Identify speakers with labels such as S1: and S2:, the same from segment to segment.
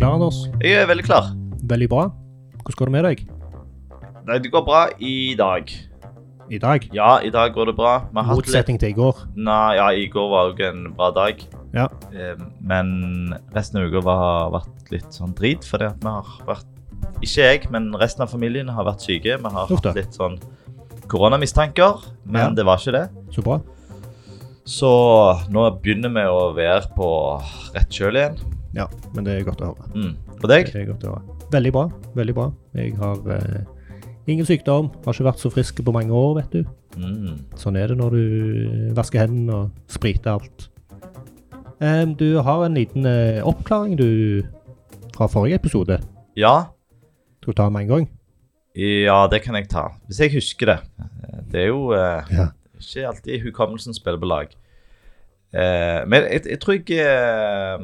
S1: klar, Anders?
S2: Jeg er veldig klar.
S1: Veldig bra. Hvordan går det med deg
S2: Nei, det går bra i dag.
S1: i dag?
S2: Ja, i dag går det bra. Vi har hatt
S1: Motsetning til i går.
S2: litt- Nei, ja, i går var jo en bra dag.
S1: Ja.
S2: Eh, Men resten av uka var- har vært litt sånn drit, fordi at vi har vært Ikke jeg, men resten av familien har vært syke. Vi har
S1: Uff da.
S2: hatt litt sånn koronamistanker, men
S1: Ja.
S2: det var ikke det.
S1: Så bra.
S2: Så nå begynner vi å være på rett kjøl igjen.
S1: Ja, men det er godt å høre.
S2: Mm. Og deg?
S1: Det er godt å høre. Veldig bra. Veldig bra. Jeg har eh, ingen sykdom. Har ikke vært så frisk på mange år, vet du.
S2: Mm.
S1: Sånn er det når du eh, vasker hendene og spriter alt. Em, du har en liten eh, oppklaring, du, fra forrige episode.
S2: Ja.
S1: Skal du ta den med en gang?
S2: ja, det kan jeg ta. Hvis jeg husker det. Det er jo eh,
S1: Ja.
S2: ikke alltid hukommelsen spiller på lag. Eh, men jeg, jeg tror jeg eh,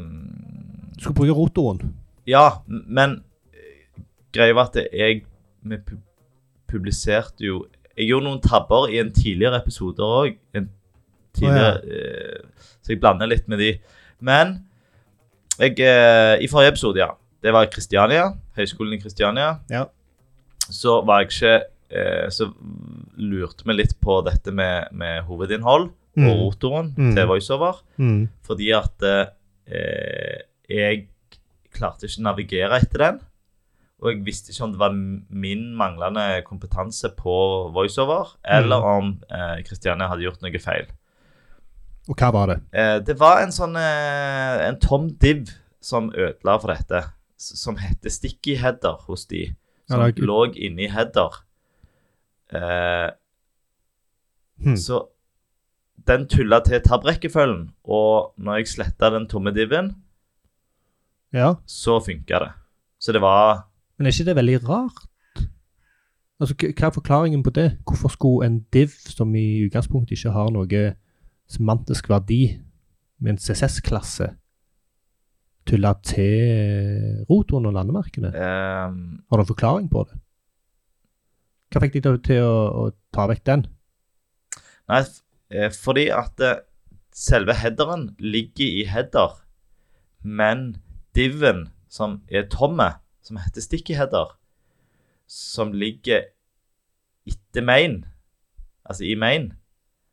S1: Du skal bruke rotoren.
S2: Ja, men eh, greia var at jeg vi pu publiserte jo Jeg gjorde noen tabber i en tidligere episode òg.
S1: Å,
S2: eh, Så jeg blander litt med de. Men jeg, eh, i forrige episode, ja. Det var Kristiania. Høgskolen i Kristiania.
S1: Ja.
S2: Så var jeg ikke eh, Så lurte vi litt på dette med, med hovedinnhold og
S1: Mm.
S2: rotoren
S1: Mm.
S2: til voiceover.
S1: Mm.
S2: Fordi at eh, jeg klarte ikke å navigere etter den. Og jeg visste ikke om det var m- min manglende kompetanse på voiceover, eller
S1: Mm.
S2: om eh, Kristiania hadde gjort noe feil.
S1: Og hva var det?
S2: Eh, det var en sånn eh, En tom div som ødela for dette, s- som heter sticky header hos de. Som
S1: Ja, det er-
S2: lå inni header. Eh,
S1: Hmm.
S2: Så den tulla til tabrekkefølgen, og når jeg sletta den tomme diven,
S1: Ja.
S2: så funka det. Så det var
S1: Men er ikke det veldig rart? Altså, k- Hva er forklaringen på det? Hvorfor skulle en div som i utgangspunktet ikke har noe semantisk verdi med en CSS-klasse, tulle til rotoren og landemerkene?
S2: eh,
S1: Har du en forklaring på det? Hva fikk de til å- til å, å ta vekk den?
S2: Nei, f- eh, fordi at eh, selve headeren ligger i header, men diven som er tomme, som heter sticky header, som ligger etter main, altså i main,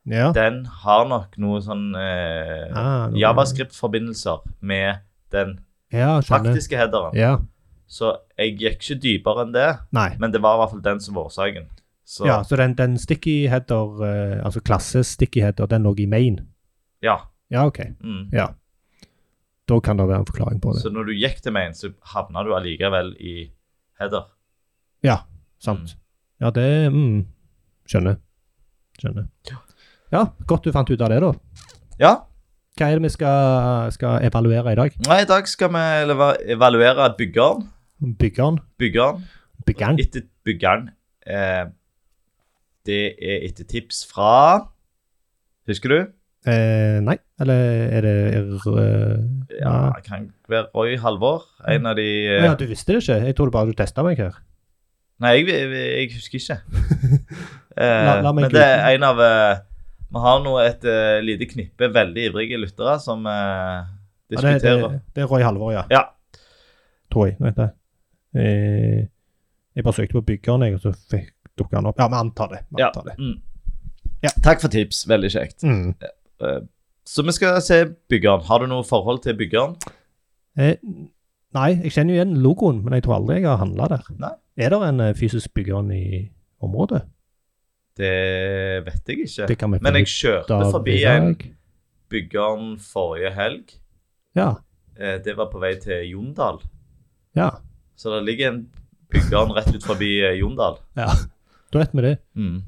S1: Ja.
S2: den har nok noe sånn eh,
S1: Ah, nå-
S2: Javascript-forbindelser med den
S1: Ja, skjønner.
S2: faktiske headeren.
S1: Ja.
S2: Så jeg gikk ikke dypere enn det,
S1: Nei.
S2: men det var i hvert fall den som var årsaken. Så ja.
S1: Ja, så den, den sticky header, eh, altså klasse-sticky header, den lå i main? Ja, OK.
S2: mm.
S1: Ja. Da kan det være en forklaring på det.
S2: Så når du gikk til main, så havna du allikevel i header.
S1: Ja, sant. Ja, det mm, Skjønner. Skjønner.
S2: Ja.
S1: Ja, godt du fant ut av det, da.
S2: Ja.
S1: Hva er det vi skal, skal evaluere i dag?
S2: Nei, i dag skal vi eleva- evaluere byggeren.
S1: Byggeren?
S2: Byggeren
S1: Byggeren?
S2: etter byggeren. Eh, det er etter tips fra Husker du?
S1: Eh, nei, eller er det er, eh,
S2: Ja,
S1: nei.
S2: det kan være Roy Halvor. En av de
S1: Å
S2: eh,
S1: ja, du visste det ikke? Jeg trodde bare du testa meg her.
S2: Nei, jeg, jeg, jeg husker ikke. Eh,
S1: La- la meg
S2: men det er en av eh, Vi har nå et eh, lite knippe veldig ivrige lyttere som eh,
S1: Ja, det, det,
S2: diskuterer.
S1: det er Roy Halvor, ja.
S2: Ja.
S1: Tror jeg. Vent, da. Eh, jeg bare søkte på byggeren, jeg, og så fikk dukka han opp. Ja, vi antar det. Vi
S2: Ja.
S1: antar det.
S2: Mm.
S1: Ja.
S2: Takk for tips. Veldig kjekt.
S1: Mm.
S2: Så vi skal se byggeren. Har du noe forhold til byggeren?
S1: Eh, nei, jeg kjenner jo igjen logoen, men jeg tror aldri jeg har handla der.
S2: Nei.
S1: Er det en eh, fysisk bygger i området?
S2: Det vet jeg ikke.
S1: Det kan vi
S2: Men
S1: finne
S2: jeg kjørte
S1: ut av
S2: forbi
S1: i
S2: en
S1: dag.
S2: byggeren forrige helg.
S1: Ja.
S2: Eh, Det var på vei til Jondal.
S1: ja.
S2: Så det ligger en byggeren rett ut forbi eh, Jondal.
S1: Da vet vi det.
S2: Mm.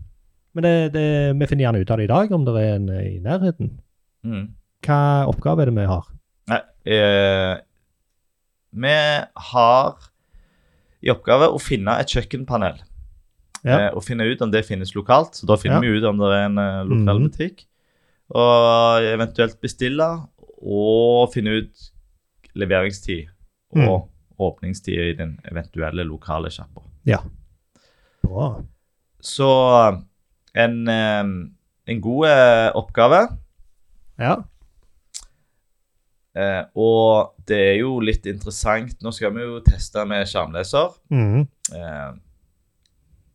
S1: Men det, det, vi finner gjerne ut av det i dag, om det er en eh, i nærheten.
S2: Mm.
S1: Hva oppgave er det vi har?
S2: Nei, eh, vi har i oppgave å finne et kjøkkenpanel.
S1: Ja.
S2: Eh, og finne ut om det finnes lokalt. Så da finner
S1: Ja.
S2: vi ut om det er en eh, lokal
S1: Mhm.
S2: butikk. Og eventuelt bestille, og finne ut leveringstid og
S1: Mhm.
S2: åpningstid i den eventuelle lokale sjappa.
S1: Bra.
S2: Så en, eh, en god eh, oppgave
S1: Ja.
S2: Eh, og det er jo litt interessant Nå skal vi jo teste med skjermleser.
S1: Mhm.
S2: Eh,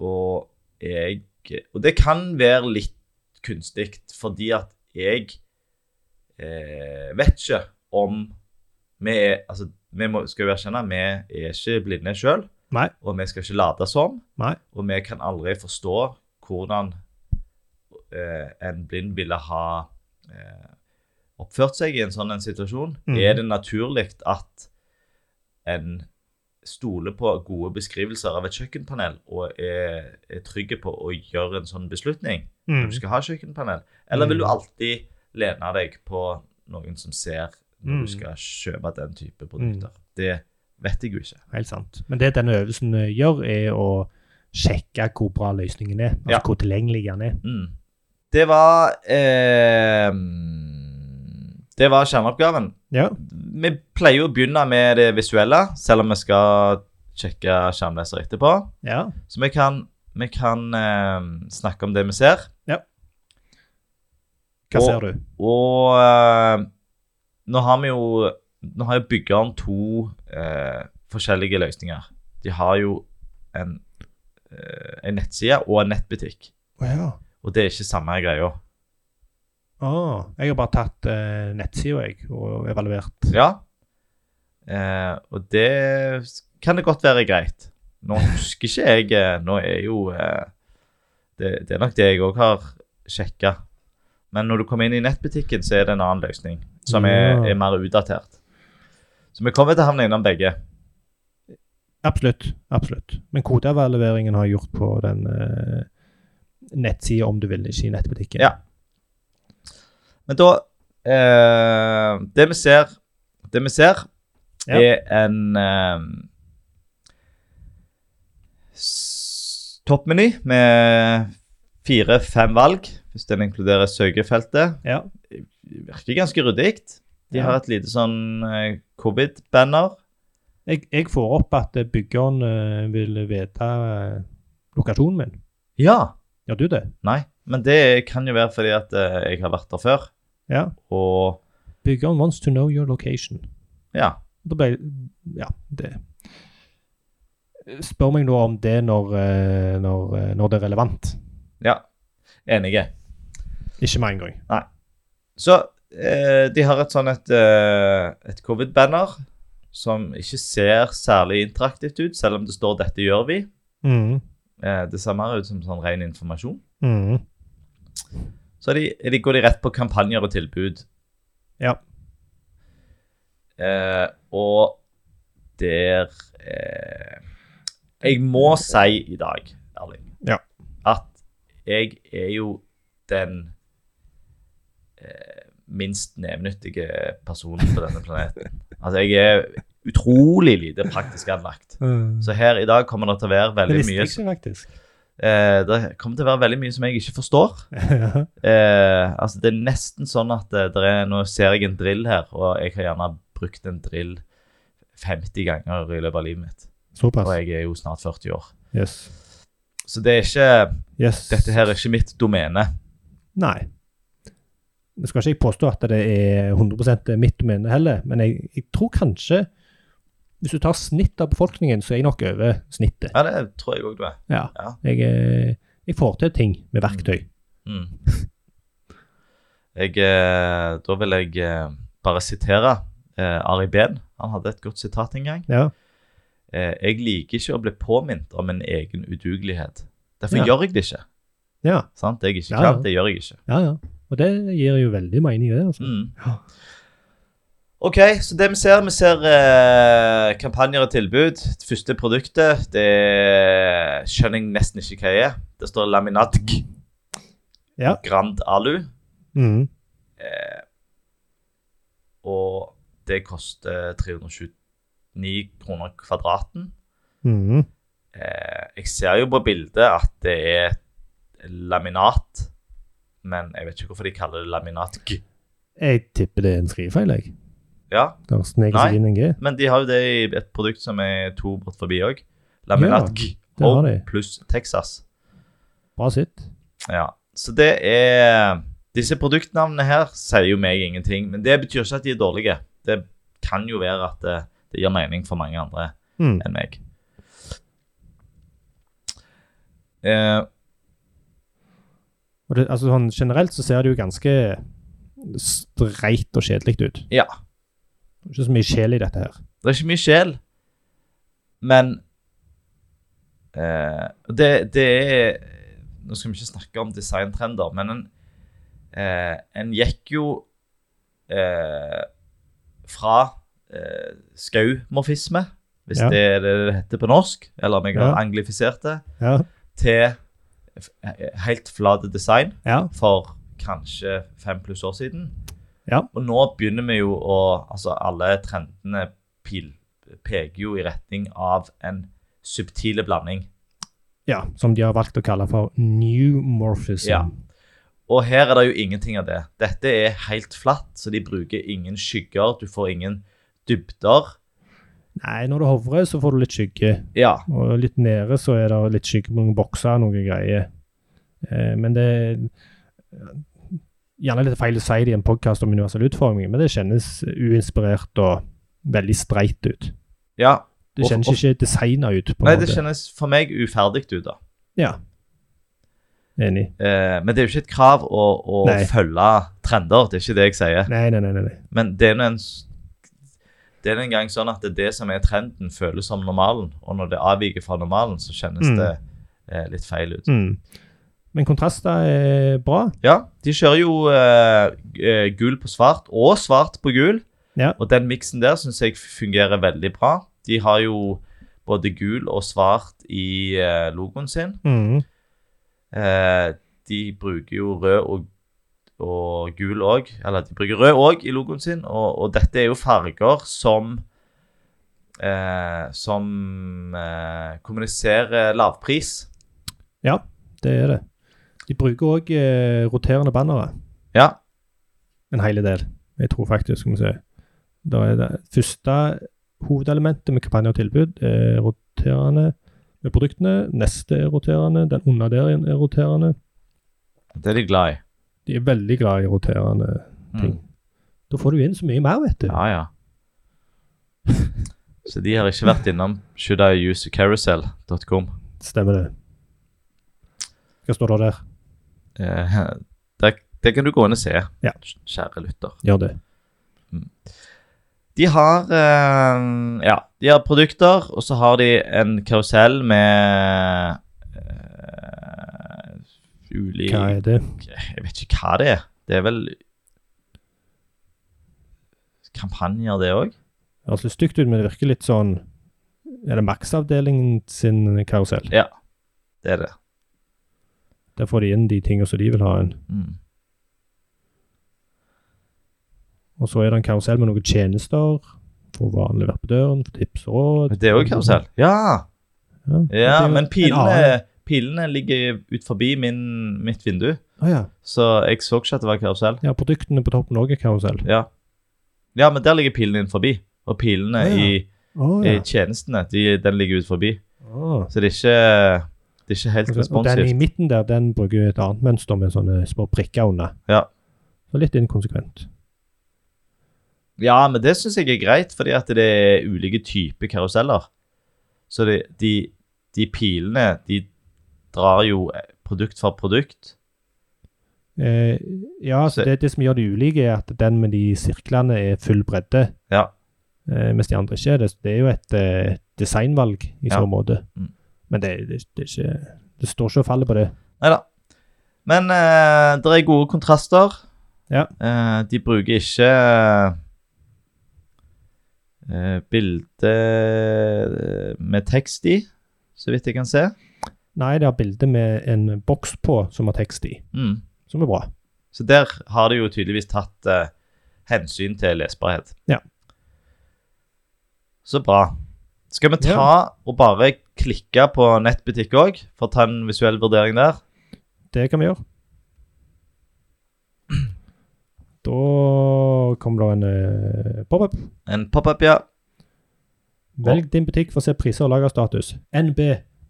S2: og jeg Og det kan være litt kunstig, fordi at jeg eh, vet ikke om Vi er Altså, vi må, skal jo erkjenne vi er ikke blinde sjøl.
S1: Nei.
S2: Og vi skal ikke late som.
S1: Nei.
S2: Og vi kan aldri forstå hvordan eh, en blind ville ha eh, oppført seg i en sånn en situasjon.
S1: Mhm.
S2: Er det naturlig at en stoler på gode beskrivelser av et kjøkkenpanel og er, er trygge på å gjøre en sånn beslutning
S1: Mhm.
S2: når du skal ha kjøkkenpanel? Eller vil du
S1: Mhm.
S2: alltid lene deg på noen som ser når
S1: Mhm.
S2: du skal kjøpe den type produkter? Det vet jeg jo ikke.
S1: Helt sant. Men det denne øvelsen eh, gjør, er å sjekke hvor bra løsningen er. Altså
S2: Ja.
S1: hvor tilgjengelig den er.
S2: Mm. Det var eh, Det var kjerneoppgaven.
S1: Ja.
S2: Vi pleier jo å begynne med det visuelle, selv om vi skal sjekke skjermleser etterpå.
S1: ja.
S2: Så vi kan, vi kan eh, snakke om det vi ser.
S1: Hva
S2: Og-
S1: ser du?
S2: Og eh, nå har vi jo Nå har jo byggeren to eh, forskjellige løsninger. De har jo en, eh, en nettside og en nettbutikk.
S1: Å ja.
S2: Og det er ikke samme greia.
S1: Ah, jeg har bare tatt eh, nettsida, jeg, og evaluert.
S2: Ja. Eh, og det kan det godt være greit. Nå husker ikke jeg eh, Nå er jo eh, det, det er nok det jeg òg har sjekka. Men når du kommer inn i nettbutikken, så er det en annen løsning som er,
S1: Ja.
S2: er mer utdatert. Så vi kommer til å havne innom begge.
S1: Absolutt. Absolutt. Men kodeevalueringen har jeg gjort på den eh, nettsida, om du vil, ikke i nettbutikken.
S2: Ja. Men da eh, Det vi ser, det vi ser
S1: Ja.
S2: er en eh, s- toppmeny med fire-fem valg, hvis den inkluderer søkefeltet.
S1: Ja.
S2: Det Virker ganske ryddig. De
S1: Ja.
S2: har et lite sånn eh, covid-banner.
S1: Jeg, jeg får opp at eh, byggeren eh, vil vite eh, lokasjonen min.
S2: Ja.
S1: Gjør du det?
S2: Nei, men det kan jo være fordi at eh, jeg har vært der før,
S1: Ja.
S2: og
S1: Byggeren wants to know your location.
S2: ja.
S1: Da ble Ja, det Spør meg nå om det når, eh, når, eh, når det er relevant.
S2: ja. Enige.
S1: Ikke med en gang.
S2: Så eh, de har et sånn et, eh, et covid-banner som ikke ser særlig interaktivt ut, selv om det står 'dette gjør vi'.
S1: Mhm.
S2: Eh, det ser mer ut som sånn ren informasjon. mm.
S1: Mhm.
S2: Så er de, er de går de rett på kampanjer og tilbud.
S1: Ja.
S2: Eh, og der eh, Jeg må si i dag, Erling,
S1: Ja.
S2: at jeg er jo den eh, minst nevnyttige personen på denne planeten. Altså, jeg er utrolig lite praktisk anlagt. Så her i dag kommer det til å
S1: det
S2: være Mm. veldig
S1: visste
S2: mye
S1: jeg ikke, faktisk.
S2: eh, Det kommer til å være veldig mye som jeg ikke forstår. Eh, altså Det er nesten sånn at eh, der er, nå ser jeg en drill her, og jeg har gjerne brukt en drill 50 ganger i løpet av livet mitt. Og
S1: Såpass.
S2: jeg er jo snart 40 år.
S1: Yes.
S2: Så det er ikke,
S1: yes.
S2: dette her er ikke mitt domene.
S1: Nei. Jeg skal ikke jeg påstå at det er 100 mitt domene heller, men jeg, jeg tror kanskje Hvis du tar snittet av befolkningen, så er jeg nok over snittet.
S2: Ja, det tror jeg òg du er.
S1: Ja.
S2: Ja.
S1: Jeg, eh, jeg får til ting med verktøy.
S2: Mm. Jeg, eh, da vil jeg eh, bare sitere eh, Ari Behn. Han hadde et godt sitat en gang.
S1: Ja.
S2: Eh, jeg liker ikke å bli påminnet om min egen udugelighet. Derfor
S1: Ja.
S2: gjør jeg det ikke.
S1: Ja,
S2: Sant? Jeg er ikke
S1: Ja,
S2: klar,
S1: ja.
S2: det gjør jeg ikke.
S1: ja. ja. Og det gir jo veldig mening, det. altså.
S2: Mm.
S1: Ja.
S2: Ok, så det vi ser, vi ser eh, kampanjer og tilbud. Det første produktet, det skjønner jeg nesten ikke hva er. Det står Laminatg.
S1: Ja.
S2: Grand Alu.
S1: Mm.
S2: Eh, og det koster 329 kroner kvadraten.
S1: Mm.
S2: Eh, jeg ser jo på bildet at det er laminat, men jeg vet ikke hvorfor de kaller det laminatg.
S1: Jeg tipper det er en skrivefeil, jeg.
S2: Ja,
S1: Der sneker seg
S2: Nei.
S1: inn en G.
S2: Men de har jo det i et produkt som er to bort forbi òg. Laminatg
S1: det har
S2: Home
S1: de.
S2: pluss Texas.
S1: Bra sitt.
S2: Ja, Så det er Disse produktnavnene her sier jo meg ingenting, men det betyr ikke at de er dårlige. det kan jo være at det, det gir mening for mange andre
S1: Mm.
S2: enn meg. Eh,
S1: Og det, altså, sånn, generelt så ser det jo ganske streit og kjedelig ut.
S2: ja.
S1: Ikke så mye sjel i dette her.
S2: Det er ikke mye sjel, men eh, det, det er Nå skal vi ikke snakke om designtrender, men en, eh, en gikk jo eh, fra eh, skaumorfisme, hvis
S1: Ja.
S2: det er det det heter på norsk, eller om jeg har
S1: Ja.
S2: anglifisert det,
S1: Ja.
S2: til f- eh, helt flate design
S1: ja.
S2: for kanskje fem pluss år siden.
S1: Ja.
S2: Og nå begynner vi jo å Altså, alle trendene pil, peker jo i retning av en subtil blanding.
S1: ja. Som de har valgt å kalle for new morphism.
S2: Ja. Og her er det jo ingenting av det. Dette er helt flatt, så de bruker ingen skygger. Du får ingen dybder.
S1: Nei, når du hovrer, så får du litt skygge.
S2: Ja.
S1: Og litt nede så er det litt skygge på noen bokser og noen greier. Eh, men det er gjerne litt feil å si det i en podkast om universell utforming, men det kjennes uinspirert og veldig streit ut.
S2: ja.
S1: Det
S2: Og-
S1: kjennes
S2: og-
S1: ikke designa ut. på en
S2: Nei, det
S1: måte.
S2: kjennes for meg uferdig ut, da.
S1: Ja. Enig.
S2: Eh, men det er jo ikke et krav å, å
S1: Nei.
S2: følge trender. Det er ikke det jeg sier.
S1: Nei, nei, nei. nei, nei.
S2: Men det er nå en s- det er nå en gang sånn at det, er det som er trenden, føles som normalen. Og når det avviker fra normalen, så kjennes
S1: Mm.
S2: det eh, litt feil ut.
S1: Mm. Men kontraster er bra.
S2: Ja, de kjører jo eh, eh, gul på svart og svart på gul.
S1: Ja.
S2: Og den miksen der syns jeg fungerer veldig bra. De har jo både gul og svart i eh, logoen sin.
S1: Mm.
S2: Eh, de bruker jo rød og, og gul òg. Eller de bruker rød òg i logoen sin, og, og dette er jo farger som eh, Som eh, kommuniserer lavpris.
S1: Ja, det er det. De bruker òg eh, roterende bannere.
S2: Ja.
S1: En hel del. Jeg tror faktisk, skal vi se. Da er det første hovedelementet med kampanje og tilbud er roterende med produktene. Neste er roterende. Den under der igjen er roterende.
S2: Det er de glad i.
S1: De er veldig glad i roterende
S2: Mm.
S1: ting. Da får du inn så mye mer, vet du.
S2: Ja, ja. Så de har ikke vært innom shouldiusecarousel.com.
S1: Stemmer det. Hva står det der?
S2: Eh, det, det kan du gå inn og se,
S1: Ja.
S2: kjære lytter.
S1: Gjør det.
S2: De har eh, Ja, de har produkter, og så har de en karusell med eh, Ulik
S1: Hva er det?
S2: Jeg vet ikke hva det er. Det er vel kampanjer, det òg?
S1: Det høres litt stygt ut, men det virker litt sånn Er det Max-avdelingen sin karusell?
S2: Ja, det er det.
S1: Der får de inn de tingene som de vil ha inn.
S2: Mm.
S1: Og så er det en karusell med noen tjenester for vanlig verpedøren, for tips og råd.
S2: Det er òg karusell. Ja,
S1: Ja, det
S2: ja
S1: er jo en
S2: men
S1: annen.
S2: pilene, pilene ligger ut forbi min, mitt vindu,
S1: Å ja.
S2: så jeg så ikke at det var karusell.
S1: ja, produktene på toppen òg er karusell.
S2: Ja. ja, men der ligger pilene inn forbi. Og pilene
S1: Ja, ja.
S2: i
S1: Å
S2: i
S1: ja.
S2: tjenestene. De, den ligger ut forbi.
S1: Å.
S2: Så det er ikke, det er ikke helt
S1: Ah. Og den i
S2: responsivt.
S1: midten der, den bruker et annet mønster med sånne små prikker under.
S2: Ja.
S1: Så litt inkonsekvent.
S2: Ja, men det syns jeg er greit, fordi at det er ulike typer karuseller. Så det, de, de pilene, de drar jo produkt for produkt.
S1: Eh, ja,
S2: Så-
S1: så det, det som gjør det ulike, er at den med de sirklene er full bredde.
S2: Ja.
S1: eh, mens de andre ikke er det. Så det er jo et eh, designvalg i
S2: Ja.
S1: så måte.
S2: Mm.
S1: Men det, det, det, er ikke, det står ikke og faller på det.
S2: Nei da. Men eh, det er gode kontraster.
S1: Ja.
S2: Eh, de bruker ikke eh, bilde eh, med tekst i, så vidt jeg kan se.
S1: Nei, det har bilde med en boks på som har tekst i,
S2: Mm.
S1: som er bra.
S2: Så der har de jo tydeligvis tatt eh, hensyn til lesbarhet.
S1: Ja.
S2: Så bra. Skal vi ta og bare klikke på nettbutikk òg, for å ta en visuell vurdering der?
S1: Det kan vi gjøre. Da kommer det en eh, pop-up.
S2: En pop-up, ja.
S1: Velg din butikk for å se priser og lagerstatus. NB.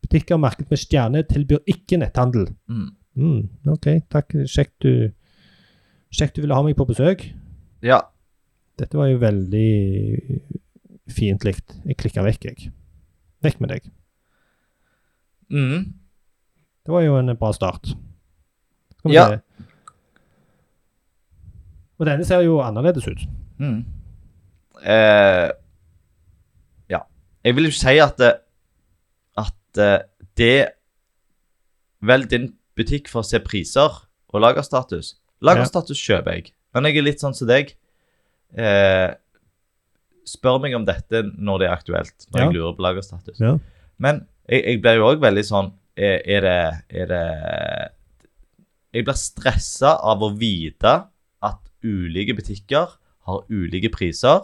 S1: Butikker merket med stjerne tilbyr ikke netthandel.
S2: Mm.
S1: Mm, OK, takk. Kjekt du Kjekt du ville ha meg på besøk.
S2: Ja.
S3: Dette var jo veldig fiendtlig. Jeg klikka vekk, jeg. Vekk med deg.
S2: Mm.
S3: Det var jo en bra start. Skal vi
S2: Ja.
S3: se. Og denne ser jo annerledes ut.
S2: Mm. Eh, ja. Jeg vil jo si at det, at eh, det Vel, det er en butikk for å se priser og lagerstatus. Lagerstatus kjøper jeg, men jeg er litt sånn som deg. Eh, spør meg om dette når det er aktuelt, når
S3: Ja.
S2: jeg lurer på lagerstatus.
S3: Ja.
S2: Men jeg, jeg blir jo òg veldig sånn Er, er, det, er det Jeg blir stressa av å vite at ulike butikker har ulike priser.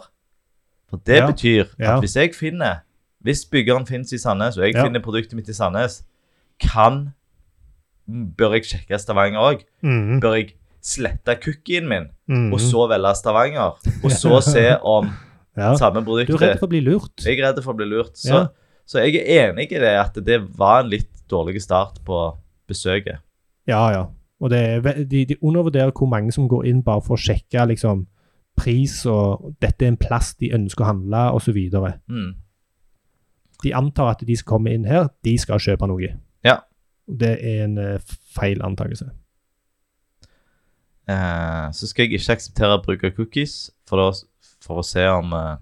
S2: For det
S3: Ja.
S2: betyr at
S3: Ja.
S2: hvis jeg finner Hvis byggeren finnes i Sandnes, og jeg
S3: Ja.
S2: finner produktet mitt i Sandnes, kan Bør jeg sjekke Stavanger òg? Bør jeg slette cookien min,
S1: Mm.
S2: Mm.
S3: Mhm.
S2: og så velge Stavanger? Og så se om
S3: ja.
S2: samme
S1: Du er
S2: produktet
S1: redd for å bli lurt.
S2: jeg er redd for å bli lurt. Så,
S1: Ja.
S2: så jeg er enig i det at det var en litt dårlig start på besøket.
S3: ja, ja.
S1: Og det er, ve- de, de undervurderer hvor mange som går inn bare for å sjekke liksom, pris, og dette er en plass de ønsker å handle, osv.
S2: Mm.
S1: De antar at de som kommer inn her, de skal kjøpe noe.
S2: Ja.
S1: Og Det er en eh, feil antakelse.
S2: Eh, så skal jeg ikke akseptere bruk av cookies for, da, for å se om, eh,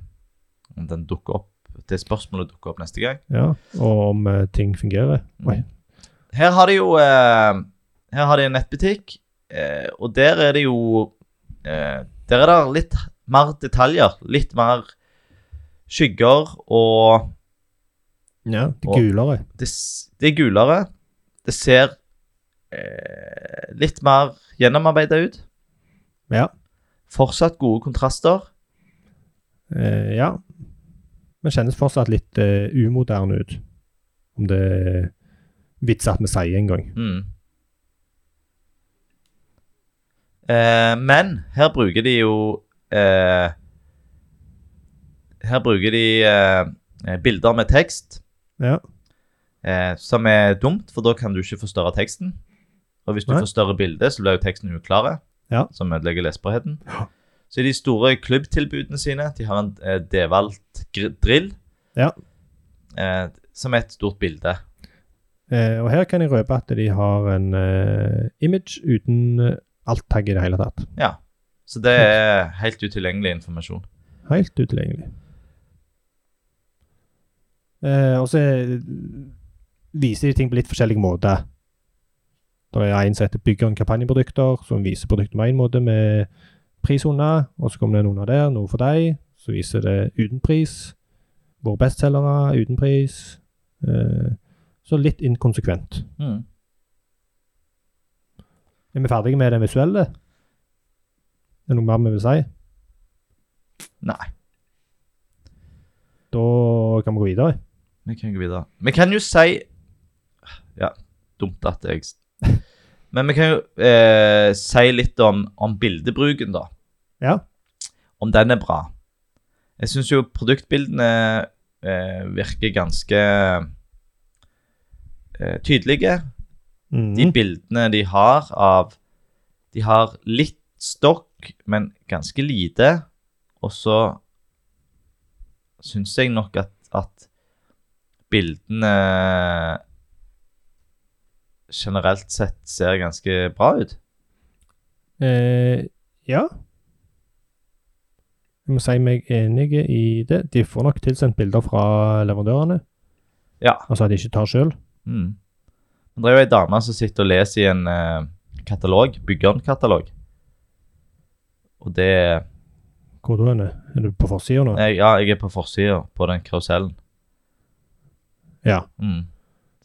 S2: om den dukker opp. Det spørsmålet dukker opp neste gang.
S1: Ja. Og om eh, ting fungerer. Oi.
S2: Her har de jo eh, Her har de en nettbutikk, eh, og der er det jo eh, Der er det litt mer detaljer. Litt mer skygger og
S1: Ja, det
S2: Og-
S1: gulere.
S2: det, s- det er gulere. Det ser eh, litt mer gjennomarbeidet ut.
S1: Ja.
S2: Fortsatt gode kontraster.
S1: Eh, ja. Men kjennes fortsatt litt eh, umoderne ut. Om det er vits at vi sier en gang.
S2: Mm. Eh, men her bruker de jo eh, Her bruker de eh, bilder med tekst,
S1: Ja.
S2: eh, som er dumt, for da kan du ikke forstørre teksten. Og hvis du
S1: Nei.
S2: forstørrer bildet, så blir jo teksten uklar,
S1: Ja.
S2: som ødelegger lesbarheten.
S1: Ja.
S2: Så de store klubbtilbudene sine De har en eh, devalt gr- drill,
S1: Ja.
S2: eh, som er et stort bilde.
S1: Eh, og her kan jeg røpe at de har en eh, image uten eh, alt-tagg i det hele tatt.
S2: Ja. Så det er helt utilgjengelig informasjon.
S1: Helt utilgjengelig. Eh, og så eh, viser de ting på litt forskjellige måter. Det er en som heter 'Bygger en kampanjeprodukter', som viser produktet på én måte med pris under, og så kommer det noen av der, noe for deg, så viser det uten pris. Våre bestselgere uten pris. Eh, så litt inkonsekvent.
S2: Mm.
S1: Er vi ferdige med det visuelle? Er det noe mer vi vil si?
S2: Nei.
S1: Da kan vi gå videre.
S2: Vi kan gå videre. Vi kan jo si Ja, dumt at jeg Men vi kan jo eh, si litt om, om bildebruken, da.
S1: Ja.
S2: Om den er bra. Jeg syns jo produktbildene eh, virker ganske eh, tydelige.
S1: Mhm.
S2: De bildene de har av De har litt stokk, men ganske lite. Og så syns jeg nok at, at bildene generelt sett ser ganske bra ut.
S1: Eh, ja. Jeg må si meg enig i det. De får nok tilsendt bilder fra leverandørene.
S2: Ja.
S1: Altså at de ikke tar sjøl.
S2: Mm. Men det er jo ei dame som sitter og leser i en eh, katalog, byggernkatalog. Og det
S1: Hvor da henne? Er du på forsida nå?
S2: Nei, Ja, jeg er på forsida på den karusellen.
S1: Ja.
S2: Mm.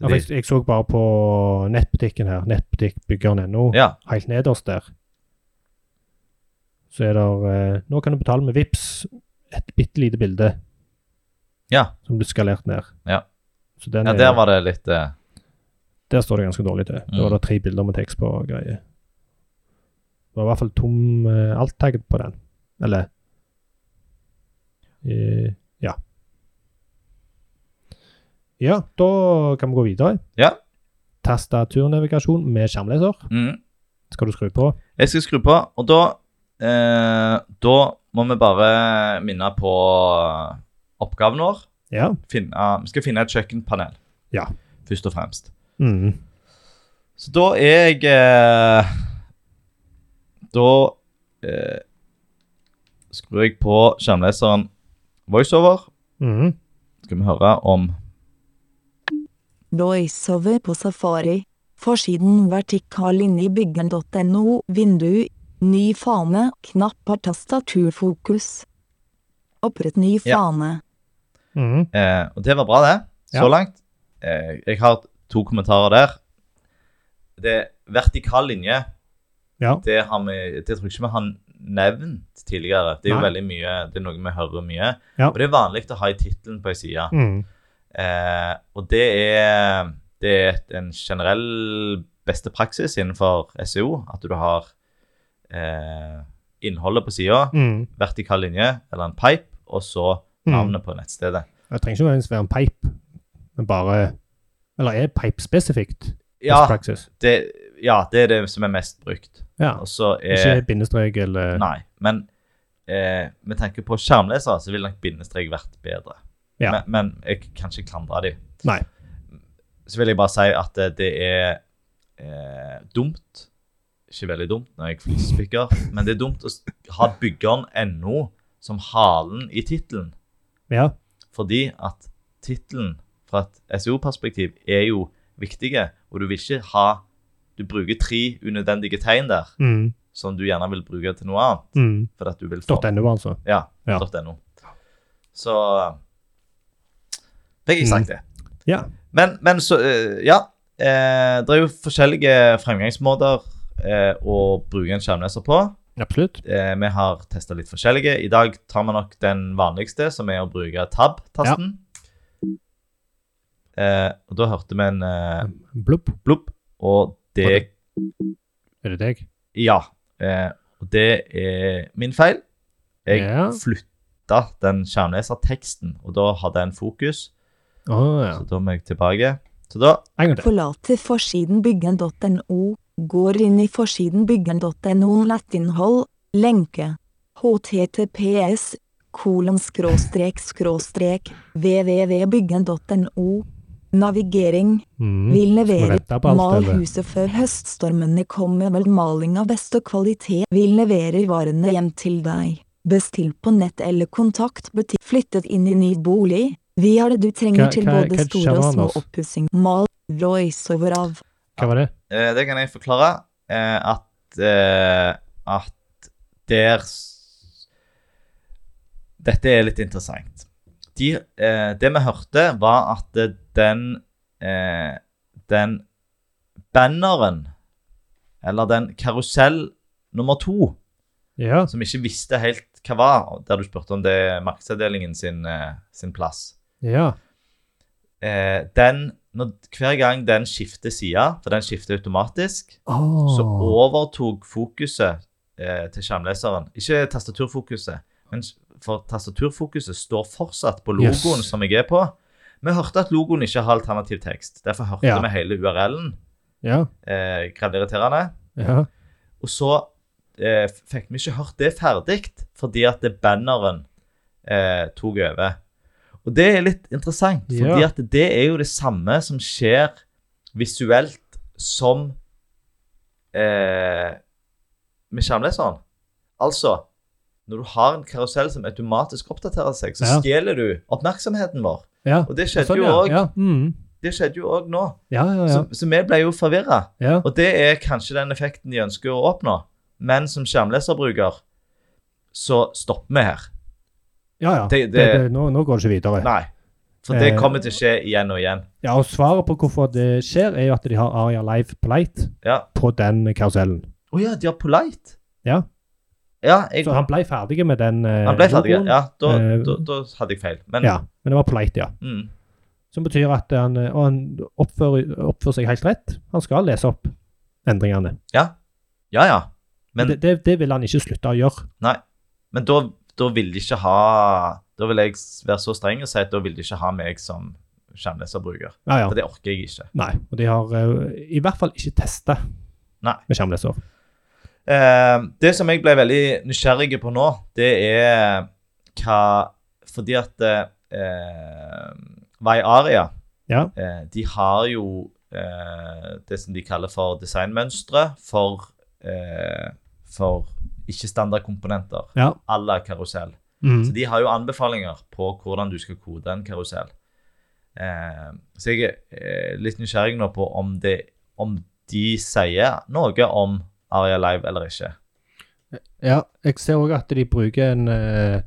S1: ja for jeg, jeg så bare på nettbutikken her. Nettbutikkbyggeren.no.
S2: ja.
S1: Helt nederst der. Så er det eh, Nå kan du betale med VIPS Et bitte lite bilde
S2: Ja.
S1: som blir skalert ned.
S2: Ja.
S1: Så den
S2: Ja,
S1: er-
S2: der var det litt eh,
S1: Der står det ganske dårlig til. Da
S2: Mm.
S1: var det tre bilder med tekst på og greier. Det var i hvert fall tom uh, alt-tagg på den. Eller eh, Ja. Ja, da kan vi gå videre.
S2: Ja.
S1: Tastaturnavigasjon med skjermleser
S2: mm.
S1: skal du skru på.
S2: Jeg skal skru på, og da Eh, da må vi bare minne på oppgaven vår.
S1: Ja.
S2: Finne, vi skal finne et kjøkkenpanel,
S1: Ja.
S2: først og fremst.
S1: Mm.
S2: Så da er jeg eh, Da eh, skrur jeg på skjermleseren voiceover.
S1: Mm.
S2: Skal vi høre om
S4: Voiceover på Safari. Forsiden vertikal inne i byggen.no, vindu, ny fane, knapp har tastaturfokus. Opprett ny
S2: Ja.
S4: fane.
S1: Mm.
S2: Eh, og det var bra, det. Så
S1: Ja.
S2: langt. Eh, jeg har to kommentarer der. Det er vertikal linje.
S1: Ja.
S2: Det, har vi, det tror jeg ikke vi har nevnt tidligere. Det er jo
S1: Nei.
S2: veldig mye, det er noe vi hører mye.
S1: Ja.
S2: Og det er vanlig å ha i tittelen på ei side.
S1: Mm.
S2: Eh, og det er, det er et- en generell beste praksis innenfor SEO at du har eh, innholdet på sida,
S1: Mm.
S2: vertikal linje eller en pipe, og så
S1: Mm.
S2: navnet på nettstedet.
S1: Det trenger ikke nødvendigvis være en pipe, men bare Eller er pipe spesifikt?
S2: Ja,
S1: best Praxis?
S2: det, ja, det er det som er mest brukt.
S1: Ja.
S2: Og så Altså, er
S1: Ikke bindestrek eller
S2: Nei. Men eh, med tanke på skjermlesere, så ville nok bindestrek vært bedre.
S1: Ja.
S2: Men, men jeg kan ikke klandre dem.
S1: Nei.
S2: Så vil jeg bare si at eh, det er eh, dumt Ikke veldig dumt når jeg flisespikker, men det er dumt å s- ha byggeren NO som halen i tittelen.
S1: Ja.
S2: Fordi at tittelen fra et SEO-perspektiv er jo viktige, og du vil ikke ha Du bruker tre unødvendige tegn der
S1: Mm.
S2: som du gjerne vil bruke til noe annet.
S1: Mm.
S2: For at du vil få
S1: .no, altså.
S2: Ja,
S1: Ja.
S2: .no. Så fikk jeg sagt det.
S1: Mm. Ja.
S2: Men, men så eh, Ja. Eh, det er jo forskjellige fremgangsmåter eh, å bruke en skjermleser på.
S1: Absolutt.
S2: Eh, vi har testa litt forskjellige. I dag tar vi nok den vanligste, som er å bruke tab-tasten. Eh, og da hørte vi en eh,
S1: Blubb.
S2: blopp, og det
S1: Er det deg?
S2: Ja. Eh, og det er min feil. Jeg
S1: Ja.
S2: flytta den skjermleserteksten, og da hadde jeg en fokus.
S1: Å ja.
S2: Så da må jeg tilbake. Så da
S1: En gang til.
S4: Forlater forsiden byggen.no, går inn i forsiden byggen.no nettinnhold, lenke, https, kolon skråstrek skråstrek, www.byggen.no, navigering,
S1: Mm. Skal
S4: vil
S1: vi
S4: levere
S1: vente på alt,
S4: mal
S1: eller?
S4: huset før høststormene kommer med maling av beste kvalitet. Vil levere varene hjem til deg. Bestill på nett eller kontakt butikk. Flyttet inn i ny bolig. Vi har det du trenger
S1: Hva-
S4: til
S1: hva-
S4: både
S1: hva
S4: store og
S1: skjer nå,
S4: små
S1: altså?
S4: oppussing. Mal, voiceover av.
S1: Hva var det?
S2: eh, Det kan jeg forklare eh, at eh, At der s- Dette er litt interessant. De, eh, det vi hørte, var at eh, den eh, Den banneren, eller den karusell nummer to
S1: Ja.
S2: som ikke visste helt hva var, og der du spurte om det er markedsavdelingen sin, eh, sin plass.
S1: Ja.
S2: Eh, den, når, hver gang den skifter side, for den skifter automatisk, så
S1: Oh.
S2: overtok fokuset eh, til skjermleseren. Ikke tastaturfokuset, men s- for tastaturfokuset står fortsatt på logoen
S1: Yes.
S2: som jeg er på. Vi hørte at logoen ikke har alternativ tekst. Derfor hørte
S1: Ja.
S2: vi hele URL-en.
S1: Ja.
S2: Eh, Grevlig irriterende.
S1: Ja.
S2: Og så eh, f- fikk vi ikke hørt det ferdig, fordi at det banneren eh, tok over. Og det er litt interessant, fordi
S1: Ja.
S2: at det er jo det samme som skjer visuelt som eh, med skjermleseren. Altså, når du har en karusell som automatisk oppdaterer seg, så
S1: Ja.
S2: stjeler du oppmerksomheten vår.
S1: ja.
S2: Og det skjedde
S1: Sånn,
S2: jo
S1: ja.
S2: også-
S1: Ja. Mm.
S2: det skjedde jo òg nå.
S1: ja, ja, ja.
S2: Så, så vi ble jo forvirra.
S1: ja.
S2: Og det er kanskje den effekten de ønsker å oppnå. Men som skjermleserbruker så stopper vi her.
S1: ja, ja.
S2: det-
S1: Det,
S2: det-
S1: det, nå, nå går det ikke videre.
S2: Nei. For det
S1: Eh.
S2: kommer til å skje igjen og igjen.
S1: Ja, og Svaret på hvorfor det skjer, er jo at de har Aria Live Polite
S2: Ja.
S1: på den karusellen.
S2: Å ja, de har polite.
S1: Ja.
S2: Ja, jeg,
S1: Så han ble ferdig med den. eh,
S2: han ble ferdig.
S1: logoen.
S2: Ja, da,
S1: Eh.
S2: da, da hadde jeg feil. Men
S1: ja. Men det var Polite, ja.
S2: mm,
S1: Som betyr at han, eh, og han oppfører, oppfører seg helt rett. Han skal lese opp endringene.
S2: ja. Ja, ja. Men-
S1: Men det, det, det vil han ikke slutte å gjøre.
S2: Men da, da vil de ikke ha Da vil jeg s- være så streng og si at da vil de ikke ha meg som skjermleserbruker.
S1: Ja, ja.
S2: For det orker jeg ikke.
S1: Nei. Og de har eh, i hvert fall ikke testa
S2: Nei.
S1: med skjermleser.
S2: Eh, det som jeg ble veldig nysgjerrig på nå, det er hva Fordi at eh, Vaiaria,
S5: Ja.
S2: eh, de har jo eh, det som de kaller for designmønstre for, eh, for ikke-standardkomponenter
S5: Ja.
S2: à la karusell.
S1: Mm.
S2: Så de har jo anbefalinger på hvordan du skal kode en karusell. Eh, så jeg er eh, litt nysgjerrig nå på om, det, om de sier noe om Aria Live eller ikke.
S1: Ja, jeg ser òg at de bruker en eh,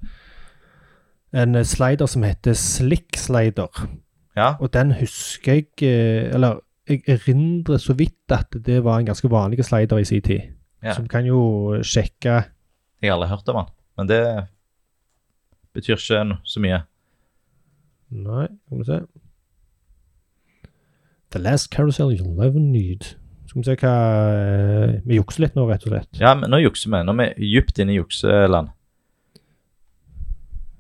S1: en slider som heter Slick Slider,
S2: Ja,
S1: og den husker jeg eh, Eller jeg erindrer så vidt at det var en ganske vanlig slider i sin tid.
S2: Ja.
S1: Så vi kan jo sjekke
S2: jeg har aldri hørt om den, men det betyr ikke no- så mye.
S1: Nei, skal vi se The last carousel you'll never need. Skal vi se hva eh, Vi jukser litt nå, rett og slett.
S2: Ja, men nå jukser vi. Nå er vi dypt inne i jukseland.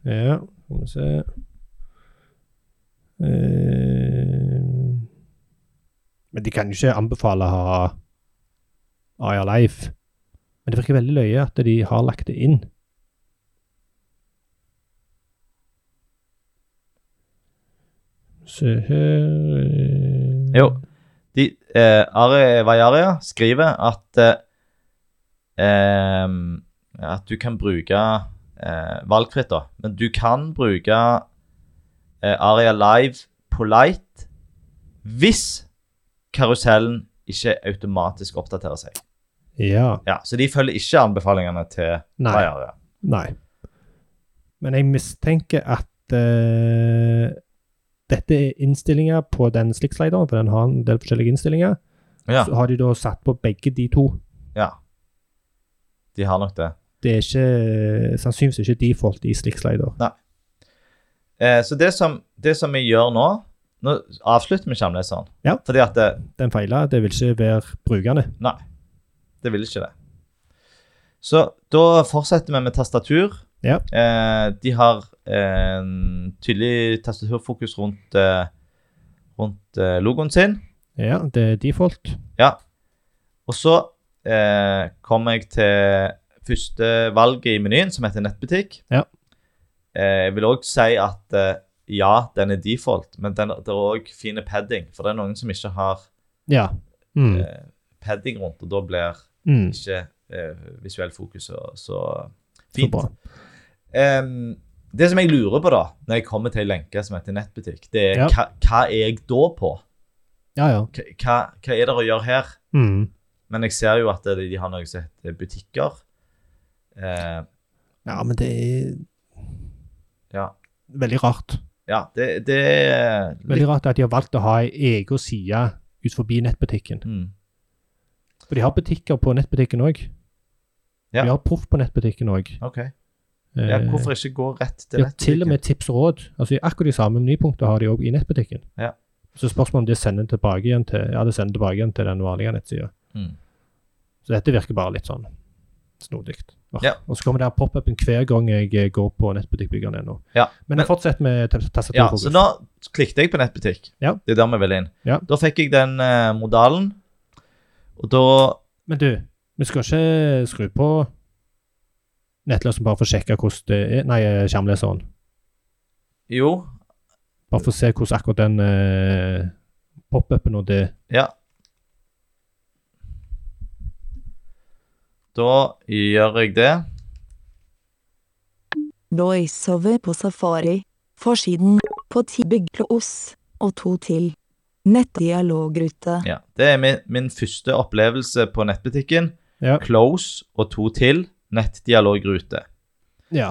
S1: Ja, skal vi se Eh, Men de kan jo ikke anbefale å ha AR Life. Men det virker veldig løye at de har lagt det inn. Se her eh,
S2: Jo, de, eh, Ari Vajaria skriver at eh, em, at du kan bruke eh, valgfritt, da. Men du kan bruke eh, Aria Live Polite hvis karusellen ikke automatisk oppdaterer seg.
S1: Ja.
S2: Ja, Så de følger ikke anbefalingene til
S1: Nei.
S2: Vajaria.
S1: Nei. Men jeg mistenker at eh, dette er innstillinger på den slickslideren, for den har en del forskjellige innstillinger.
S2: Ja,
S1: Så har de da satt på begge de to.
S2: ja. De har nok det.
S1: Det er ikke, eh, sannsynligvis ikke default i slickslider.
S2: Eh, så det som, det som vi gjør nå Nå avslutter vi skjermleseren.
S1: Ja.
S2: Fordi at eh, det,
S1: Den feiler, det vil ikke være brukende.
S2: Det vil ikke det. Så da fortsetter vi med tastatur.
S1: Ja.
S2: Eh, de har en tydelig tastaturfokus rundt, eh, rundt eh, logoen sin.
S1: Ja, det er default.
S2: Og så eh, kommer jeg til første valget i menyen, som heter nettbutikk.
S1: Ja.
S2: Eh, jeg vil òg si at eh, ja, den er default, men den, det er òg fin padding. For det er noen som ikke har
S1: Ja. Mm.
S2: eh, padding rundt, og da blir
S1: Mm.
S2: ikke eh, visuell fokus så, så
S1: Så
S2: fint.
S1: bra.
S2: Em, det som jeg lurer på, da, når jeg kommer til ei lenke som heter nettbutikk, det er
S1: Ja.
S2: hva, hva er jeg da på?
S1: Ja, ja.
S2: Hva, hva- hva er det å gjøre her?
S1: Mm.
S2: Men jeg ser jo at de de har noe som heter butikker. Eh,
S1: Ja, men det er
S2: ja.
S1: veldig rart.
S2: ja, det, det er litt
S1: Veldig rart at de har valgt å ha ei egen side ut forbi nettbutikken.
S2: mm.
S1: For de har butikker på nettbutikken òg.
S2: Ja.
S1: De har proff på nettbutikken òg.
S2: OK. Ja, hvorfor ikke gå rett til
S1: De har Eh, til og
S2: nettbutikken?
S1: med tips og råd. Altså Akkurat de samme menypunktene har de òg i nettbutikken.
S2: Ja.
S1: Så spørsmålet om de sender tilbake igjen til, ja, de sender tilbake igjen til den vanlige nettsida.
S2: Mm.
S1: Så dette virker bare litt sånn snodig. Åh.
S2: Ja.
S1: Og så kommer det her pop-upen hver gang jeg eh, går på nettbutikkbyggeren ennå.
S2: Ja,
S1: Men,
S2: men-
S1: fortsett med tas-
S2: Ja, så
S1: tastaturfokus.
S2: nå klikket jeg på nettbutikk.
S1: Ja.
S2: Det er der vi vil inn.
S1: Ja.
S2: Da fikk jeg den eh, modalen, og da
S1: Men du, vi skal ikke skru på nettløseren bare for å sjekke hvordan det er Nei, eh, skjermleseren.
S2: Jo,
S1: Bare for å se hvordan akkurat den eh, pop-upen og det
S2: Ja. Da gjør jeg det.
S4: Voiceover på Safari. Forsiden. På Tibig Plus. Og to til. Nettdialogrute.
S2: Ja. Det er min, min første opplevelse på nettbutikken.
S1: Ja.
S2: Close og to til. Nettdialogrute.
S1: Ja.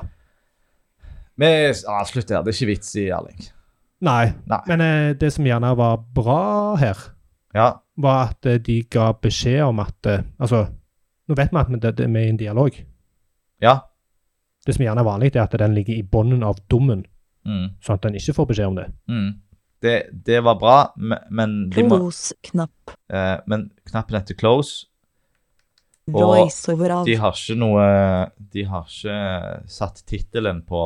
S2: Vi avslutter her. Det er ikke vits i, Erling.
S1: Nei.
S2: Nei.
S1: Men eh, det som gjerne var bra her,
S2: Ja.
S1: var at eh, de ga beskjed om at eh, Altså, nå vet vi at vi- det, det, vi er i en dialog.
S2: Ja.
S1: Det som gjerne er vanlig, det er at den ligger i bunnen av dummen,
S2: Mm.
S1: sånn at den ikke får beskjed om det.
S2: Mm. Det, det var bra, me- men, de må,
S4: Plus-knapp.
S2: eh, men knappen heter close.
S4: Voiceover av.
S2: De har ikke noe De har ikke satt tittelen på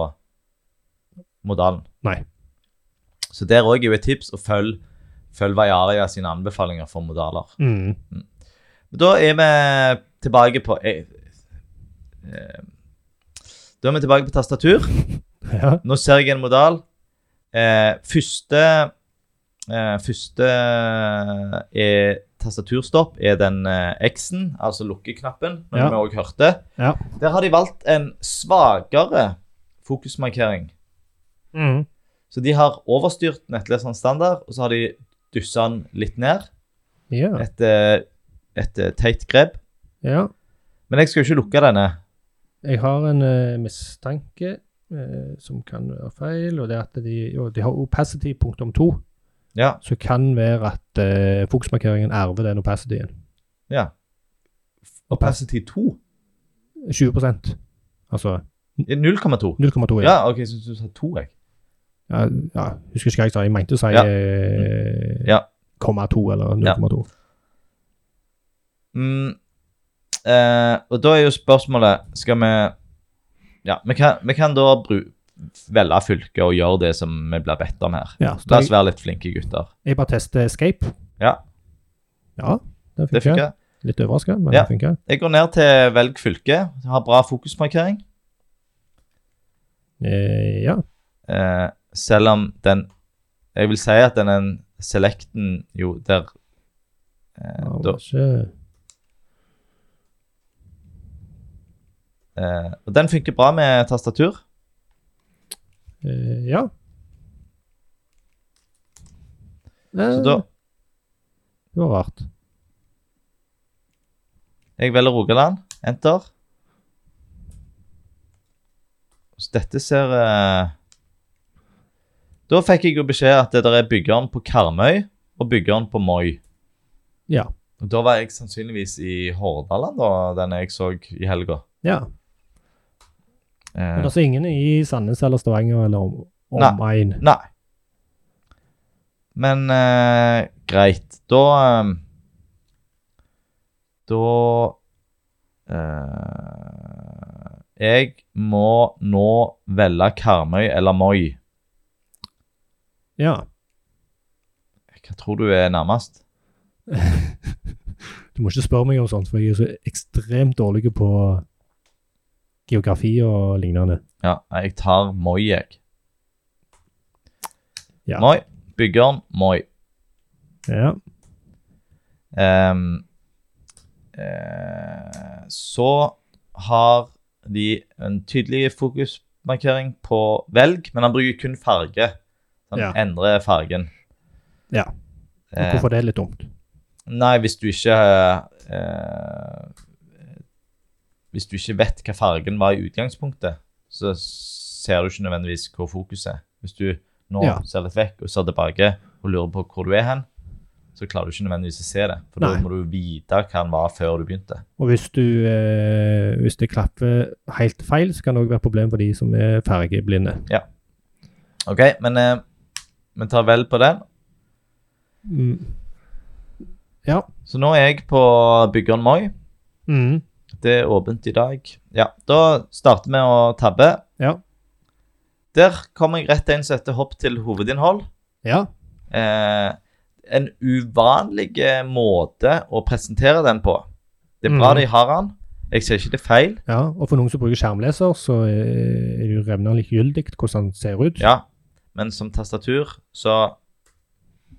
S2: modalen.
S1: Nei.
S2: Så der òg er jo et tips å følge følg Vajaria sine anbefalinger for modaler.
S1: Mm.
S2: Da er vi tilbake på eh, eh, Da er vi tilbake på tastatur.
S6: Ja.
S2: Nå ser jeg en modal. Eh, første eh, Første er tastaturstopp er den eh, X-en, altså lukkeknappen, når
S6: Ja.
S2: vi også hørte.
S6: Ja.
S2: Der har de valgt en svakere fokusmarkering.
S6: Mm.
S2: Så de har overstyrt nettleseren standard, og så har de dyssa den litt ned.
S1: Ja.
S2: Et, eh, et eh, teit grep.
S1: ja.
S2: Men jeg skal jo ikke lukke denne.
S1: Jeg har en eh, mistanke eh, som kan være feil, og det er at de, jo, de har opacity punktum to,
S2: Ja,
S1: så kan være at eh, fokusmarkeringen erver den opacityen.
S2: ja. Opacity 2?
S1: 20 Altså
S2: Eh, 0,2.
S1: 0,2. Ja.
S2: Ja, OK, så du sa 2, jeg.
S1: Ja, ja, husker ikke hva jeg sa. Jeg mente å si
S2: Ja.
S1: eh,
S2: Ja.
S1: komma 2 eller 0,2.
S2: Mm. Eh, og da er jo spørsmålet Skal vi Ja, vi kan, vi kan da bru, velge fylke og gjøre det som vi blir bedt om her.
S1: Ja, så
S2: La oss
S1: jeg,
S2: være litt flinke gutter.
S1: jeg bare tester escape.
S2: Ja.
S1: Ja, den
S2: Det
S1: funker.
S2: funker.
S1: Litt overraska, men
S2: Ja.
S1: den funker.
S2: Jeg går ned til velg fylke. Har bra fokusmarkering.
S1: Eh, ja.
S2: Eh, selv om den Jeg vil si at den er en selecten jo der eh,
S1: ja
S2: da,
S1: var ikke-
S2: eh, Og den funker bra med tastatur.
S1: eh, ja.
S2: Så
S1: Eh,
S2: da
S1: Det var rart.
S2: Jeg velger Rogaland. Enter. Så dette ser eh, Da fikk jeg jo beskjed at det der er byggeren på Karmøy og byggeren på Moi.
S1: Ja.
S2: Og Da var jeg sannsynligvis i Hordaland, da, den jeg så i helga.
S1: Ja. Men
S2: Eh,
S1: altså ingen i Sandnes eller Stavanger eller om-
S2: Nei.
S1: omegn.
S2: nei. Men eh, greit. Da eh, Da eh, Jeg må nå velge Karmøy eller Moi.
S1: Ja.
S2: Hva tror du er nærmest?
S1: Du må ikke spørre meg om sånt, for jeg er så ekstremt dårlig på geografi og lignende.
S2: Ja, jeg tar Moi, jeg.
S1: Ja.
S2: Moi. Byggeren Moi.
S1: Ja.
S2: Ehm, eh, så har de en tydelig fokusmarkering på velg, men han bruker kun farge. Han
S1: Ja.
S2: endrer fargen.
S1: Ja.
S2: Eh,
S1: Hvorfor det er litt dumt.
S2: Nei, hvis du ikke eh, eh, Hvis du ikke vet hva fargen var i utgangspunktet, så ser du ikke nødvendigvis hvor fokuset er. Hvis du nå
S1: Ja.
S2: ser litt vekk og ser tilbake og lurer på hvor du er hen, så klarer du ikke nødvendigvis å se det. For
S1: Nei.
S2: da må du vite hva den var før du begynte.
S1: Og hvis, du, eh, hvis det klaffer helt feil, så kan det òg være et problem for de som er fargeblinde.
S2: OK, men eh, vi tar vel på den.
S1: Mm. Ja.
S2: Så nå er jeg på Byggeren Moi.
S1: Mm.
S2: Det er åpent i dag. Ja, da starter vi å tabbe.
S1: Ja.
S2: Der kommer jeg rett inn så etter hopp til hovedinnhold.
S1: Ja.
S2: eh, en uvanlig eh, måte å presentere den på. Det er bra
S1: Mhm.
S2: de har den. Jeg ser ikke det er feil.
S1: ja. Og for noen som bruker skjermleser, så eh, er det jo revnende likegyldig hvordan den ser ut.
S2: Ja, men som tastatur, så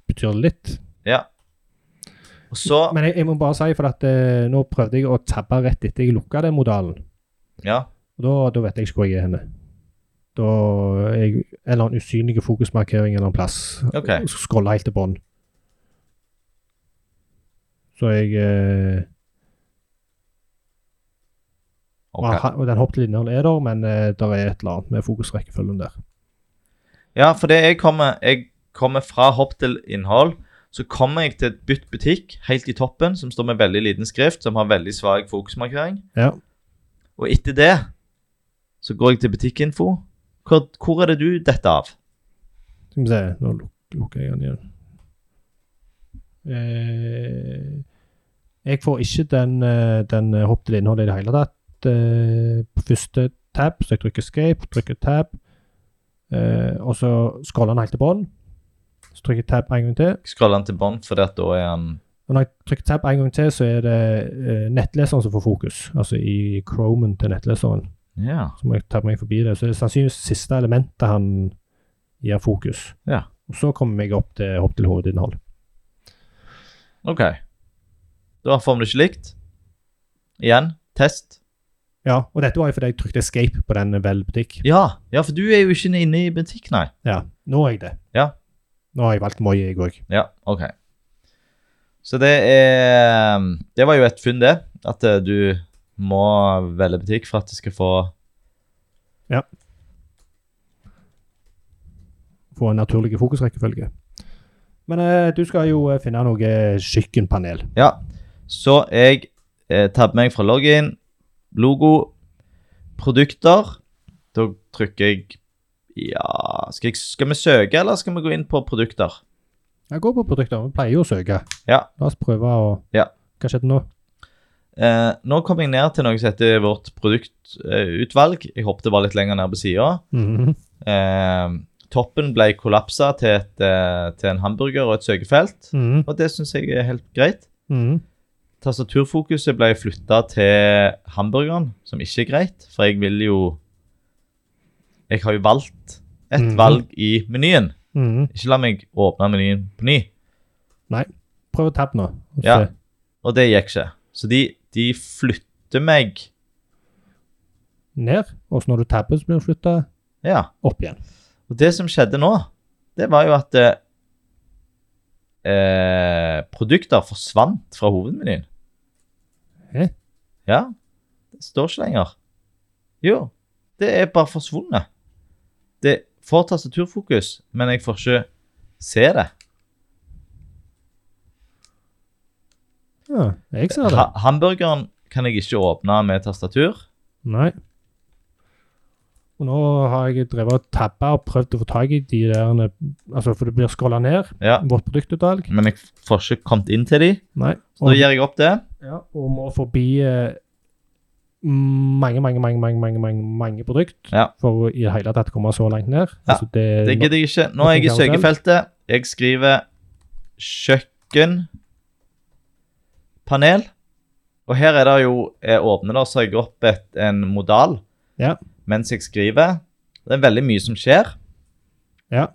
S1: Betyr det litt.
S2: Ja. Og så
S1: Men jeg, jeg må bare si, for at eh, nå prøvde jeg å tabbe rett etter jeg lukka den modalen.
S2: Ja.
S1: Og da, da vet jeg ikke hvor jeg er henne. Da er jeg en eller annen usynlig fokusmarkering en eller annen plass.
S2: OK.
S1: Og så scroller jeg helt til bånn. Så jeg eh, og
S2: ok.
S1: han- Og den hopplinjen er der, men eh, der er et eller annet med fokusrekkefølgen der.
S2: Ja, for det jeg kommer Jeg kommer fra hopp til innhold. Så kommer jeg til et bytt butikk helt i toppen, som står med veldig liten skrift, som har veldig svak fokusmarkering.
S1: Ja.
S2: Og etter det så går jeg til butikkinfo. Hvor, hvor er det du detter av?
S1: Skal vi se, nå luk lukker jeg den igjen. Eh, jeg får ikke den, eh, den eh, hopp til innholdet i det hele tatt. Eh, på første tab, så jeg trykker escape, trykker tab, eh, og så scroller den helt til bånn. Så trykker jeg tab en gang til.
S2: Jeg scroller den til bånn, for da er um, han
S1: Og når jeg trykker tab en gang til, så er det eh, nettleseren som får fokus. Altså i Chromen til nettleseren.
S2: Ja.
S1: Så må jeg ta meg forbi det. Så det er sannsynligvis siste elementet han gir fokus.
S2: Ja.
S1: Og så kommer jeg opp til hopp til hovedinnhold.
S2: OK. Da får vi det ikke likt. Igjen. Test.
S1: Ja, og dette var jo fordi jeg trykte escape på den vel butikk.
S2: Ja, ja for du er jo ikke inne i butikk, nei.
S1: Ja, nå er jeg det.
S2: Ja.
S1: Nå har jeg valgt Moi, jeg òg.
S2: Ja, OK. Så det er um, Det var jo et funn, det. At eh, du må velge butikk for at du skal få
S1: Få en naturlig fokusrekkefølge. Men eh, du skal jo eh, finne noe kjøkkenpanel.
S2: Ja. Så jeg eh, tabber meg fra login, logo, produkter. Da trykker jeg Ja skal, jeg, skal vi søke, eller skal vi gå inn på produkter?
S1: Jeg går på produkter. Vi pleier jo å søke.
S2: Ja.
S1: La oss prøve å
S2: Ja.
S1: Hva skjedde nå?
S2: Eh, nå kom jeg ned til noe som heter vårt produktutvalg. jeg håpet det var litt lenger ned på sida.
S1: Mhm.
S2: Eh, toppen ble kollapsa til, et, eh, til en hamburger og et søkefelt.
S1: Mhm.
S2: Og det syns jeg er helt greit.
S1: Mhm.
S2: Tastaturfokuset ble flytta til hamburgeren, som ikke er greit, for jeg vil jo Jeg har jo valgt et
S1: Mhm.
S2: valg i menyen.
S1: Mhm.
S2: Ikke la meg åpne menyen på ny.
S1: Prøv å tab nå. og
S2: Ja.
S1: se.
S2: Og det gikk ikke. Så de, de flytter meg
S1: Ned. Og så når du tabber, så blir du flytta
S2: Ja.
S1: opp igjen.
S2: Og det som skjedde nå, det var jo at eh, eh, produkter forsvant fra hovedmenyen.
S1: Hæ?
S2: Ja. Det står ikke lenger. Jo, det er bare forsvunnet. Det får tastaturfokus, men jeg får ikke se det.
S1: Ja, jeg ser det.
S2: Ha hamburgeren kan jeg ikke åpne med tastatur.
S1: Nei. Og nå har jeg drevet og tabba og prøvd å få tak i de der Altså, for det blir scrolla ned.
S2: Ja,
S1: Vårt produktutvalg.
S2: men jeg får ikke kommet inn til de.
S1: Nei.
S2: Så da
S1: Og,
S2: gir jeg opp det.
S1: ja, og må forbi eh, mange, mange, mange, mange, mange, mange, mange produkt
S2: Ja.
S1: for å i det hele tatt komme så langt ned.
S2: Ja,
S1: Altså, det,
S2: Det gidder jeg ikke. Nå er jeg i søkefeltet. Jeg skriver kjøkkenpanel. Og her er det jo eh, åpne, da, så har jeg opp et, en modal
S1: Ja.
S2: mens jeg skriver. Det er veldig mye som skjer.
S1: Ja.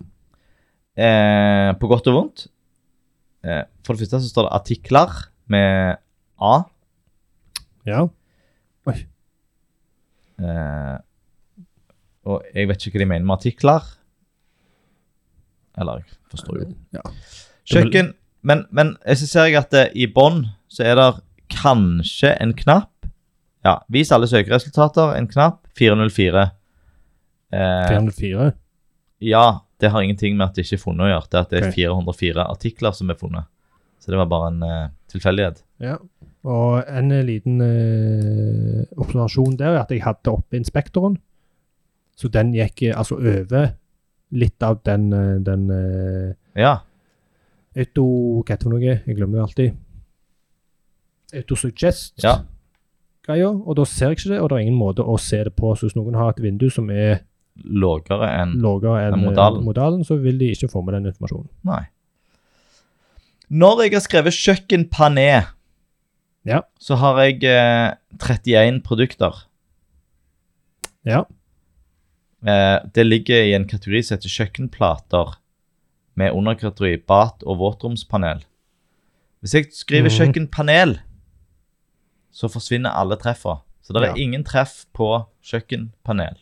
S2: Eh, på godt og vondt. Eh, for det første så står det artikler med A.
S1: Ja.
S2: Eh, og jeg vet ikke hva de mener med artikler. Eller, jeg forstår jo.
S1: Ja.
S2: Kjøkken, men, men jeg så ser jeg at eh, i bånn så er det kanskje en knapp. Ja, vis alle søkeresultater, en knapp, 404. Eh,
S1: 304.
S2: ja, det har ingenting med at det ikke er funnet å gjøre, det er at det er
S1: Ok.
S2: 404 artikler som er funnet. Så det var bare en eh, tilfellighet.
S1: Ja. Og en liten eh, observasjon der er at jeg hadde oppe inspektoren. Så den gikk eh, altså over litt av den, eh, den eh,
S2: Ja,
S1: auto... Hva heter det for noe? Jeg glemmer det alltid. Autosuggest-greia.
S2: Ja.
S1: Og da ser jeg ikke det, og det er ingen måte å se det på. Så hvis noen har et vindu som er
S2: lågere enn
S1: lavere enn
S2: Den
S1: eh,
S2: modalen.
S1: modalen, så vil de ikke få med den informasjonen.
S2: Nei. Når jeg har skrevet kjøkkenpané,
S1: Ja.
S2: så har jeg eh, 31 produkter.
S1: Ja.
S2: Eh, det ligger i en kategori som heter kjøkkenplater, med underkategori bat- og våtromspanel. Hvis jeg skriver
S1: Mhm.
S2: kjøkkenpanel, så forsvinner alle treffa. Så det
S1: Ja.
S2: er ingen treff på kjøkkenpanel.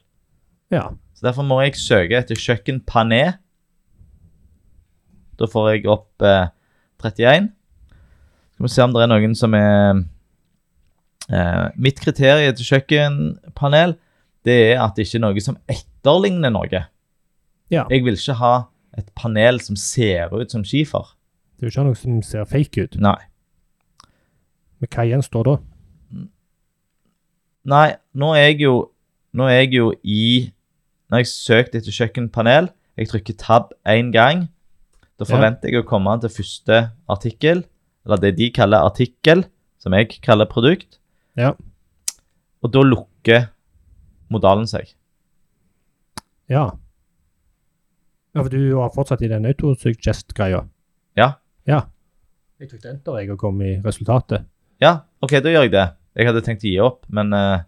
S1: Ja.
S2: Så derfor må jeg søke etter kjøkkenpané. Da får jeg opp eh, 31. Skal vi se om det er noen som er eh, Mitt kriterium til kjøkkenpanel det er at det ikke er noe som etterligner noe.
S1: Ja.
S2: Jeg vil ikke ha et panel som ser ut som skifer.
S1: Det er jo ikke noe som ser fake ut.
S2: Nei.
S1: Men hva gjenstår da?
S2: Nei, nå er jeg jo Nå er jeg jo i Nå har jeg søkt etter kjøkkenpanel. Jeg trykker tab én gang. Da
S1: Ja.
S2: forventer jeg å komme til første artikkel, eller det de kaller artikkel, som jeg kaller produkt.
S1: Ja.
S2: Og da lukker modalen seg.
S1: Ja. Ja, for du har fortsatt i den autosuggest-greia.
S2: Ja.
S1: Ja. Jeg trykte enter jeg og kom i resultatet.
S2: Ja, OK, da gjør jeg det. Jeg hadde tenkt å gi opp, men eh,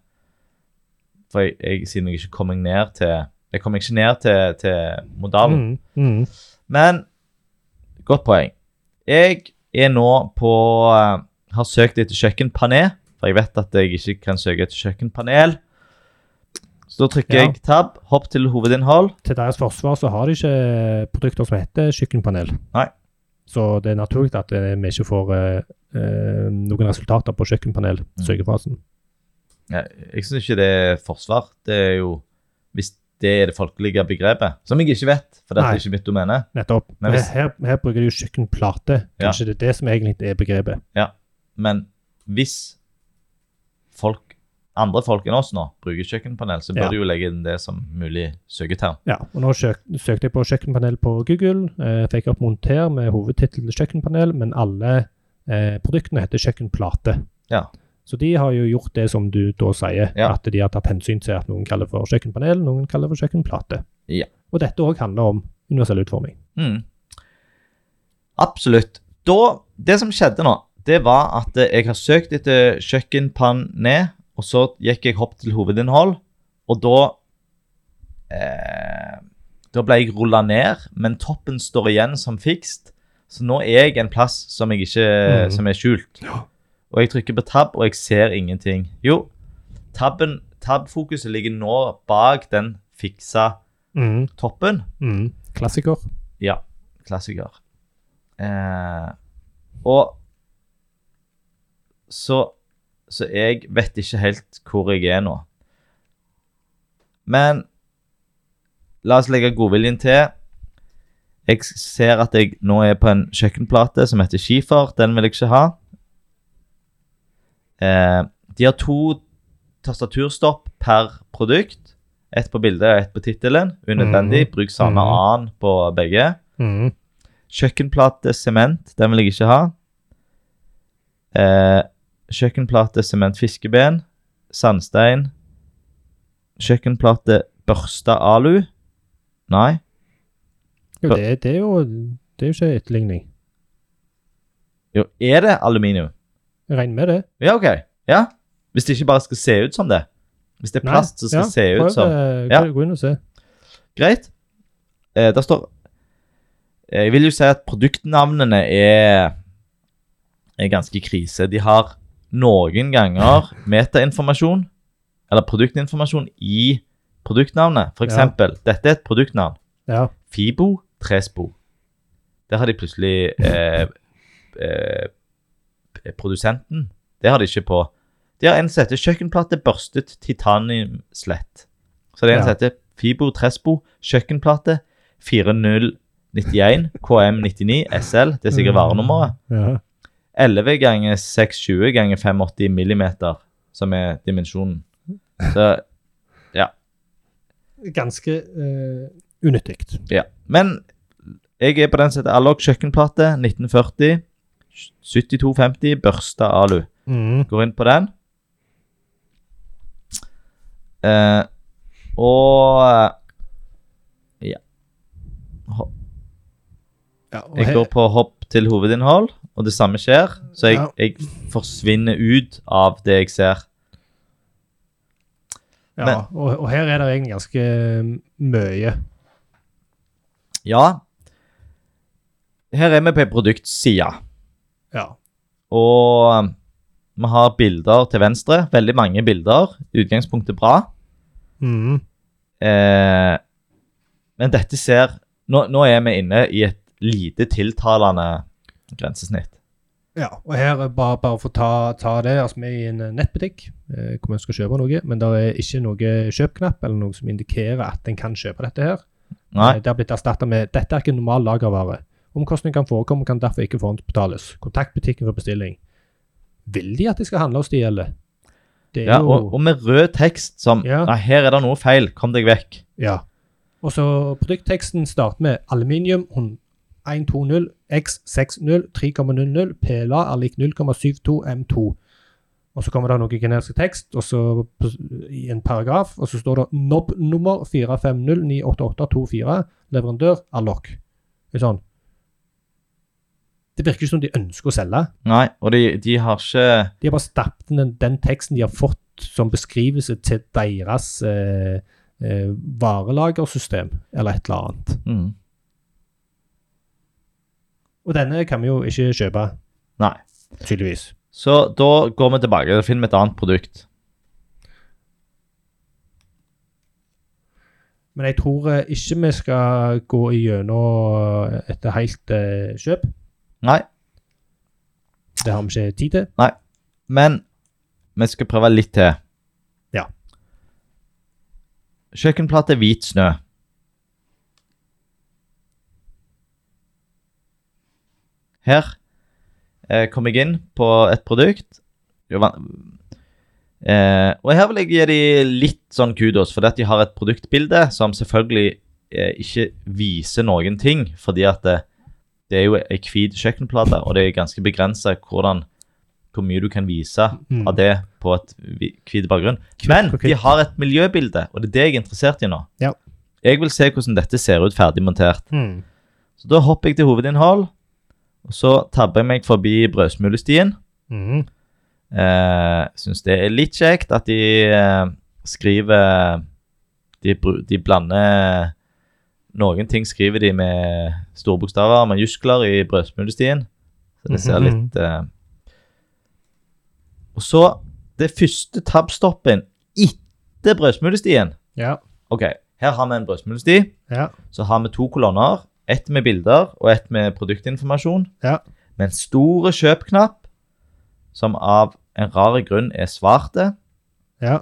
S2: For jeg, jeg, siden jeg ikke kom meg ned til Jeg kom meg ikke ned til, til modalen.
S1: Mm, mm.
S2: Men godt poeng. Jeg er nå på eh, Har søkt etter kjøkkenpanel, for jeg vet at jeg ikke kan søke etter kjøkkenpanel. Så da trykker
S1: Ja.
S2: jeg tab, hopp til hovedinnhold.
S1: Til deres forsvar så har de ikke produkter som heter kjøkkenpanel.
S2: Nei.
S1: Så det er naturlig at eh, vi ikke får eh, eh, noen resultater på
S2: Mm.
S1: kjøkkenpanel-søkefasen.
S2: Ja, Jeg syns ikke det er forsvar. Det er jo Hvis det er det folkelige begrepet, som jeg ikke vet, for dette
S1: Nei.
S2: er ikke mitt domene.
S1: Nettopp.
S2: Men hvis-
S1: her, her bruker de jo kjøkkenplate.
S2: Ja.
S1: Kanskje det er det som egentlig er begrepet.
S2: Men hvis folk, andre folk enn oss nå bruker kjøkkenpanel, så bør
S1: Ja.
S2: du jo legge inn det som mulig søketerm.
S1: Ja, og nå søk, søkte jeg på kjøkkenpanel på Google. Eh, fikk opp monter med hovedtittel kjøkkenpanel, men alle eh, produktene heter kjøkkenplate.
S2: Ja.
S1: Så de har jo gjort det som du da sier,
S2: Ja.
S1: at de har tatt hensyn til at noen kaller for kjøkkenpanel, noen kaller for kjøkkenplate.
S2: Ja.
S1: Og dette òg handler om universell utforming.
S2: Mm. Absolutt. Da, det som skjedde nå, det var at eh, jeg har søkt etter kjøkkenpanne, og så gikk jeg hopp til hovedinnhold, og da eh, Da ble jeg rulla ned, men toppen står igjen som fikst. Så nå er jeg en plass som, jeg ikke,
S1: Mhm.
S2: som er skjult. Og jeg trykker på tab, og jeg ser ingenting. Jo, tabben, tabfokuset ligger nå bak den fiksa
S1: Mm.
S2: toppen.
S1: Mm. Klassiker.
S2: Ja, klassiker. Eh, og så, så jeg vet ikke helt hvor jeg er nå. Men la oss legge godviljen til. Jeg ser at jeg nå er på en kjøkkenplate som heter Skifer. Den vil jeg ikke ha. Eh, de har to tastaturstopp per produkt. Ett på bildet og ett på tittelen. Unødvendig. Bruk samme
S1: Mhm.
S2: A-en på begge.
S1: Mm.
S2: Kjøkkenplate sement, den vil jeg ikke ha. Eh, kjøkkenplate sement fiskeben, sandstein. Kjøkkenplate børsta alu. Nei.
S1: Jo, det, det er jo det er jo ikke etterligning.
S2: Jo, er det aluminium?
S1: Jeg regner med det.
S2: Ja, OK. Ja. Hvis det ikke bare skal se ut som det. Hvis det er
S1: Nei,
S2: plast, så skal
S1: ja,
S2: det se ut
S1: prøv,
S2: som
S1: eh,
S2: Ja.
S1: gå- Gå inn og se.
S2: Greit. Eh, der står Eh, Jeg vil jo si at produktnavnene er, er ganske krise. De har noen ganger metainformasjon, eller produktinformasjon, i produktnavnet. For
S1: Ja.
S2: eksempel, dette er et produktnavn.
S1: Ja.
S2: Fibo Trespo. Der har de plutselig eh, eh, p- Produsenten. Det har de ikke på. De har en som heter 'Kjøkkenplate børstet titaniumslett'. Så det er en som
S1: Ja.
S2: heter Fibo Trespo kjøkkenplate 4091 KM99 SL. Det
S1: Mm.
S2: er sikkert varenummeret.
S1: Ja.
S2: 11 ganger 620 ganger 580 millimeter, som er dimensjonen. Så
S1: Ganske eh, unyttig.
S2: Ja. Men jeg er på den som heter Allog kjøkkenplate 1940. 7250 børsta alu.
S1: Mm.
S2: Går inn på den. Eh, og Ja. Ho-
S1: Ja, og
S2: Jeg
S1: her-
S2: går på hopp til hovedinnhold, og det samme skjer. Så jeg,
S1: Ja.
S2: jeg forsvinner ut av det jeg ser.
S1: Ja,
S2: Men-
S1: og, og her er det egentlig ganske mm, mye.
S2: Ja. Her er vi på ei produktside.
S1: Ja.
S2: Og um, vi har bilder til venstre. Veldig mange bilder. Utgangspunktet bra.
S1: Mm.
S2: Eh, men dette ser nå, nå er vi inne i et lite tiltalende grensesnitt.
S1: ja. Og her, er bare, bare for å ta, ta det, altså vi er i en nettbutikk eh, hvor vi skal kjøpe noe, men det er ikke noe kjøpknapp eller noe som indikerer at en kan kjøpe dette her.
S2: Nei.
S1: Eh, Det har blitt erstatta med 'dette er ikke normal lagervare'. Omkostninger kan forekomme og kan derfor ikke forhåndsbetales. Kontakt butikken for bestilling. Vil de at de skal handle hos de, eller? Det er
S2: Ja,
S1: jo
S2: og, og med rød tekst som
S1: Ja.
S2: Nei, her er det noe feil. Kom deg vekk.
S1: Ja. Og så produktteksten starter med aluminium hun- 120 X60 3,00 PLA er lik 0,72 M2. Og så kommer det noe generisk tekst og så pos- i en paragraf, og så står det NOB-nummer 45098824, leverandør Alloc. Det er Sånn. Det virker ikke som de ønsker å selge.
S2: Nei, og de, de har ikke
S1: De har bare stappet inn den, den teksten de har fått som beskrivelse til deres eh, eh, varelagersystem, eller et eller annet.
S2: mm,
S1: Og denne kan vi jo ikke kjøpe,
S2: Nei.
S1: tydeligvis.
S2: Så da går vi tilbake og finner vi et annet produkt.
S1: Men jeg tror eh, ikke vi skal gå igjennom et helt eh, kjøp.
S2: Nei.
S1: Det har vi ikke tid til.
S2: Men vi skal prøve litt til.
S1: Ja.
S2: Kjøkkenplate hvit snø. Her eh, kom jeg inn på et produkt. Det var- Eh, og her vil jeg gi dem litt sånn kudos, fordi at de har et produktbilde som selvfølgelig eh, ikke viser noen ting, fordi at det, det er jo ei hvit kjøkkenplate, og det er ganske begrensa hvordan hvor mye du kan vise
S1: Mm.
S2: av det på et hvi- hvit bakgrunn. Men
S1: ok.
S2: de har et miljøbilde, og det er det jeg er interessert i nå.
S1: Ja.
S2: Jeg vil se hvordan dette ser ut ferdig montert.
S1: Hmm.
S2: Så da hopper jeg til hovedinnhold, og så tabber jeg meg forbi brødsmulestien.
S1: Mhm.
S2: Eh, Syns det er litt kjekt at de eh, skriver de, bru- de blander Noen ting skriver de med store bokstaver, med muskler i brødsmulestien. Så det ser
S1: Mhm.
S2: litt eh. Og så det første tabbstoppen etter brødsmulestien.
S1: Ja.
S2: OK, her har vi en brødsmulesti.
S1: Ja.
S2: Så har vi to kolonner. Ett med bilder og ett med produktinformasjon.
S1: Ja.
S2: Med en stor kjøpknapp, som av en rar grunn er svarte.
S1: Ja.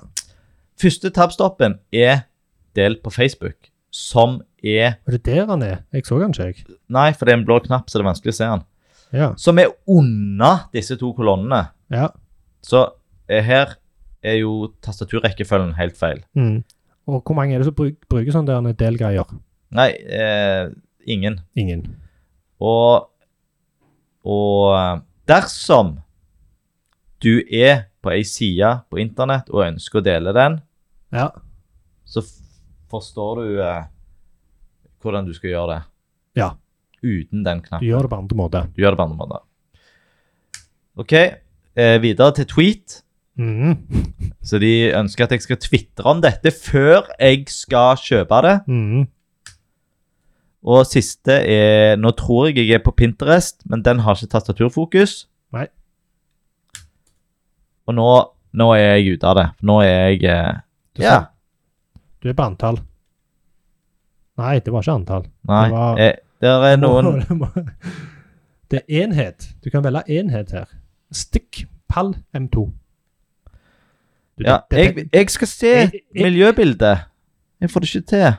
S2: Første tabbstoppen er delt på Facebook, som er
S1: Og det er der han er. Jeg så han ikke, jeg.
S2: Nei, for det er en blå knapp, så det er vanskelig å se den.
S1: Ja.
S2: Som er unna disse to kolonnene.
S1: ja.
S2: Så eh, her er jo tastaturrekkefølgen helt feil.
S1: Mm. Og hvor mange er det som bruk, bruker sånne der delgreier?
S2: Nei, eh, ingen.
S1: Ingen.
S2: Og, og eh, dersom du er på ei side på internett og ønsker å dele den,
S1: Ja.
S2: så f- forstår du eh, hvordan du skal gjøre det.
S1: Ja.
S2: Uten den
S1: Du
S2: knappen.
S1: gjør det på andre måter.
S2: Du gjør det på andre måter. OK, eh, videre til tweet.
S1: Mhm.
S2: Så de ønsker at jeg skal tvitre om dette før jeg skal kjøpe det.
S1: Mhm.
S2: Og siste er Nå tror jeg jeg er på Pinterest, men den har ikke tastaturfokus.
S1: Nei.
S2: Og nå, nå er jeg ute av det. Nå er jeg eh,
S1: Du
S2: Ja.
S1: sa- Du er på antall. Nei, det var ikke antall.
S2: Nei.
S1: det var-
S2: eh, der er noen
S1: Det må- Det er enhet. Du kan velge enhet her. Stikk, pall, M2. Du,
S2: Ja,
S1: det- det-
S2: jeg, jeg skal se
S1: Jeg- jeg-
S2: miljøbildet. Jeg får det ikke til.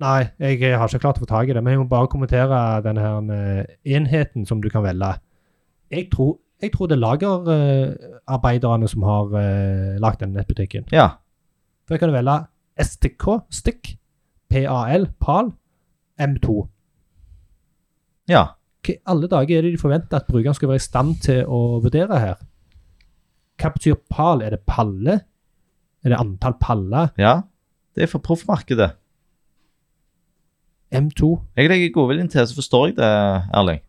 S1: Nei, jeg har ikke klart å få tak i det, men jeg må bare kommentere denne her eh, enheten som du kan velge. Jeg tror, jeg tror det er lagerarbeiderne som har eh, lagd den nettbutikken.
S2: Ja.
S1: For jeg kan velge STK, stikk, PAL, pal, M2.
S2: Ja.
S1: Hva i alle dager er det de forventer at brukeren skal være i stand til å vurdere her? Hva betyr pal? Er det palle? Er det antall paller?
S2: ja. Det er for proffmarkedet.
S1: M2?
S2: Jeg legger godviljen til, så forstår jeg det, Erling.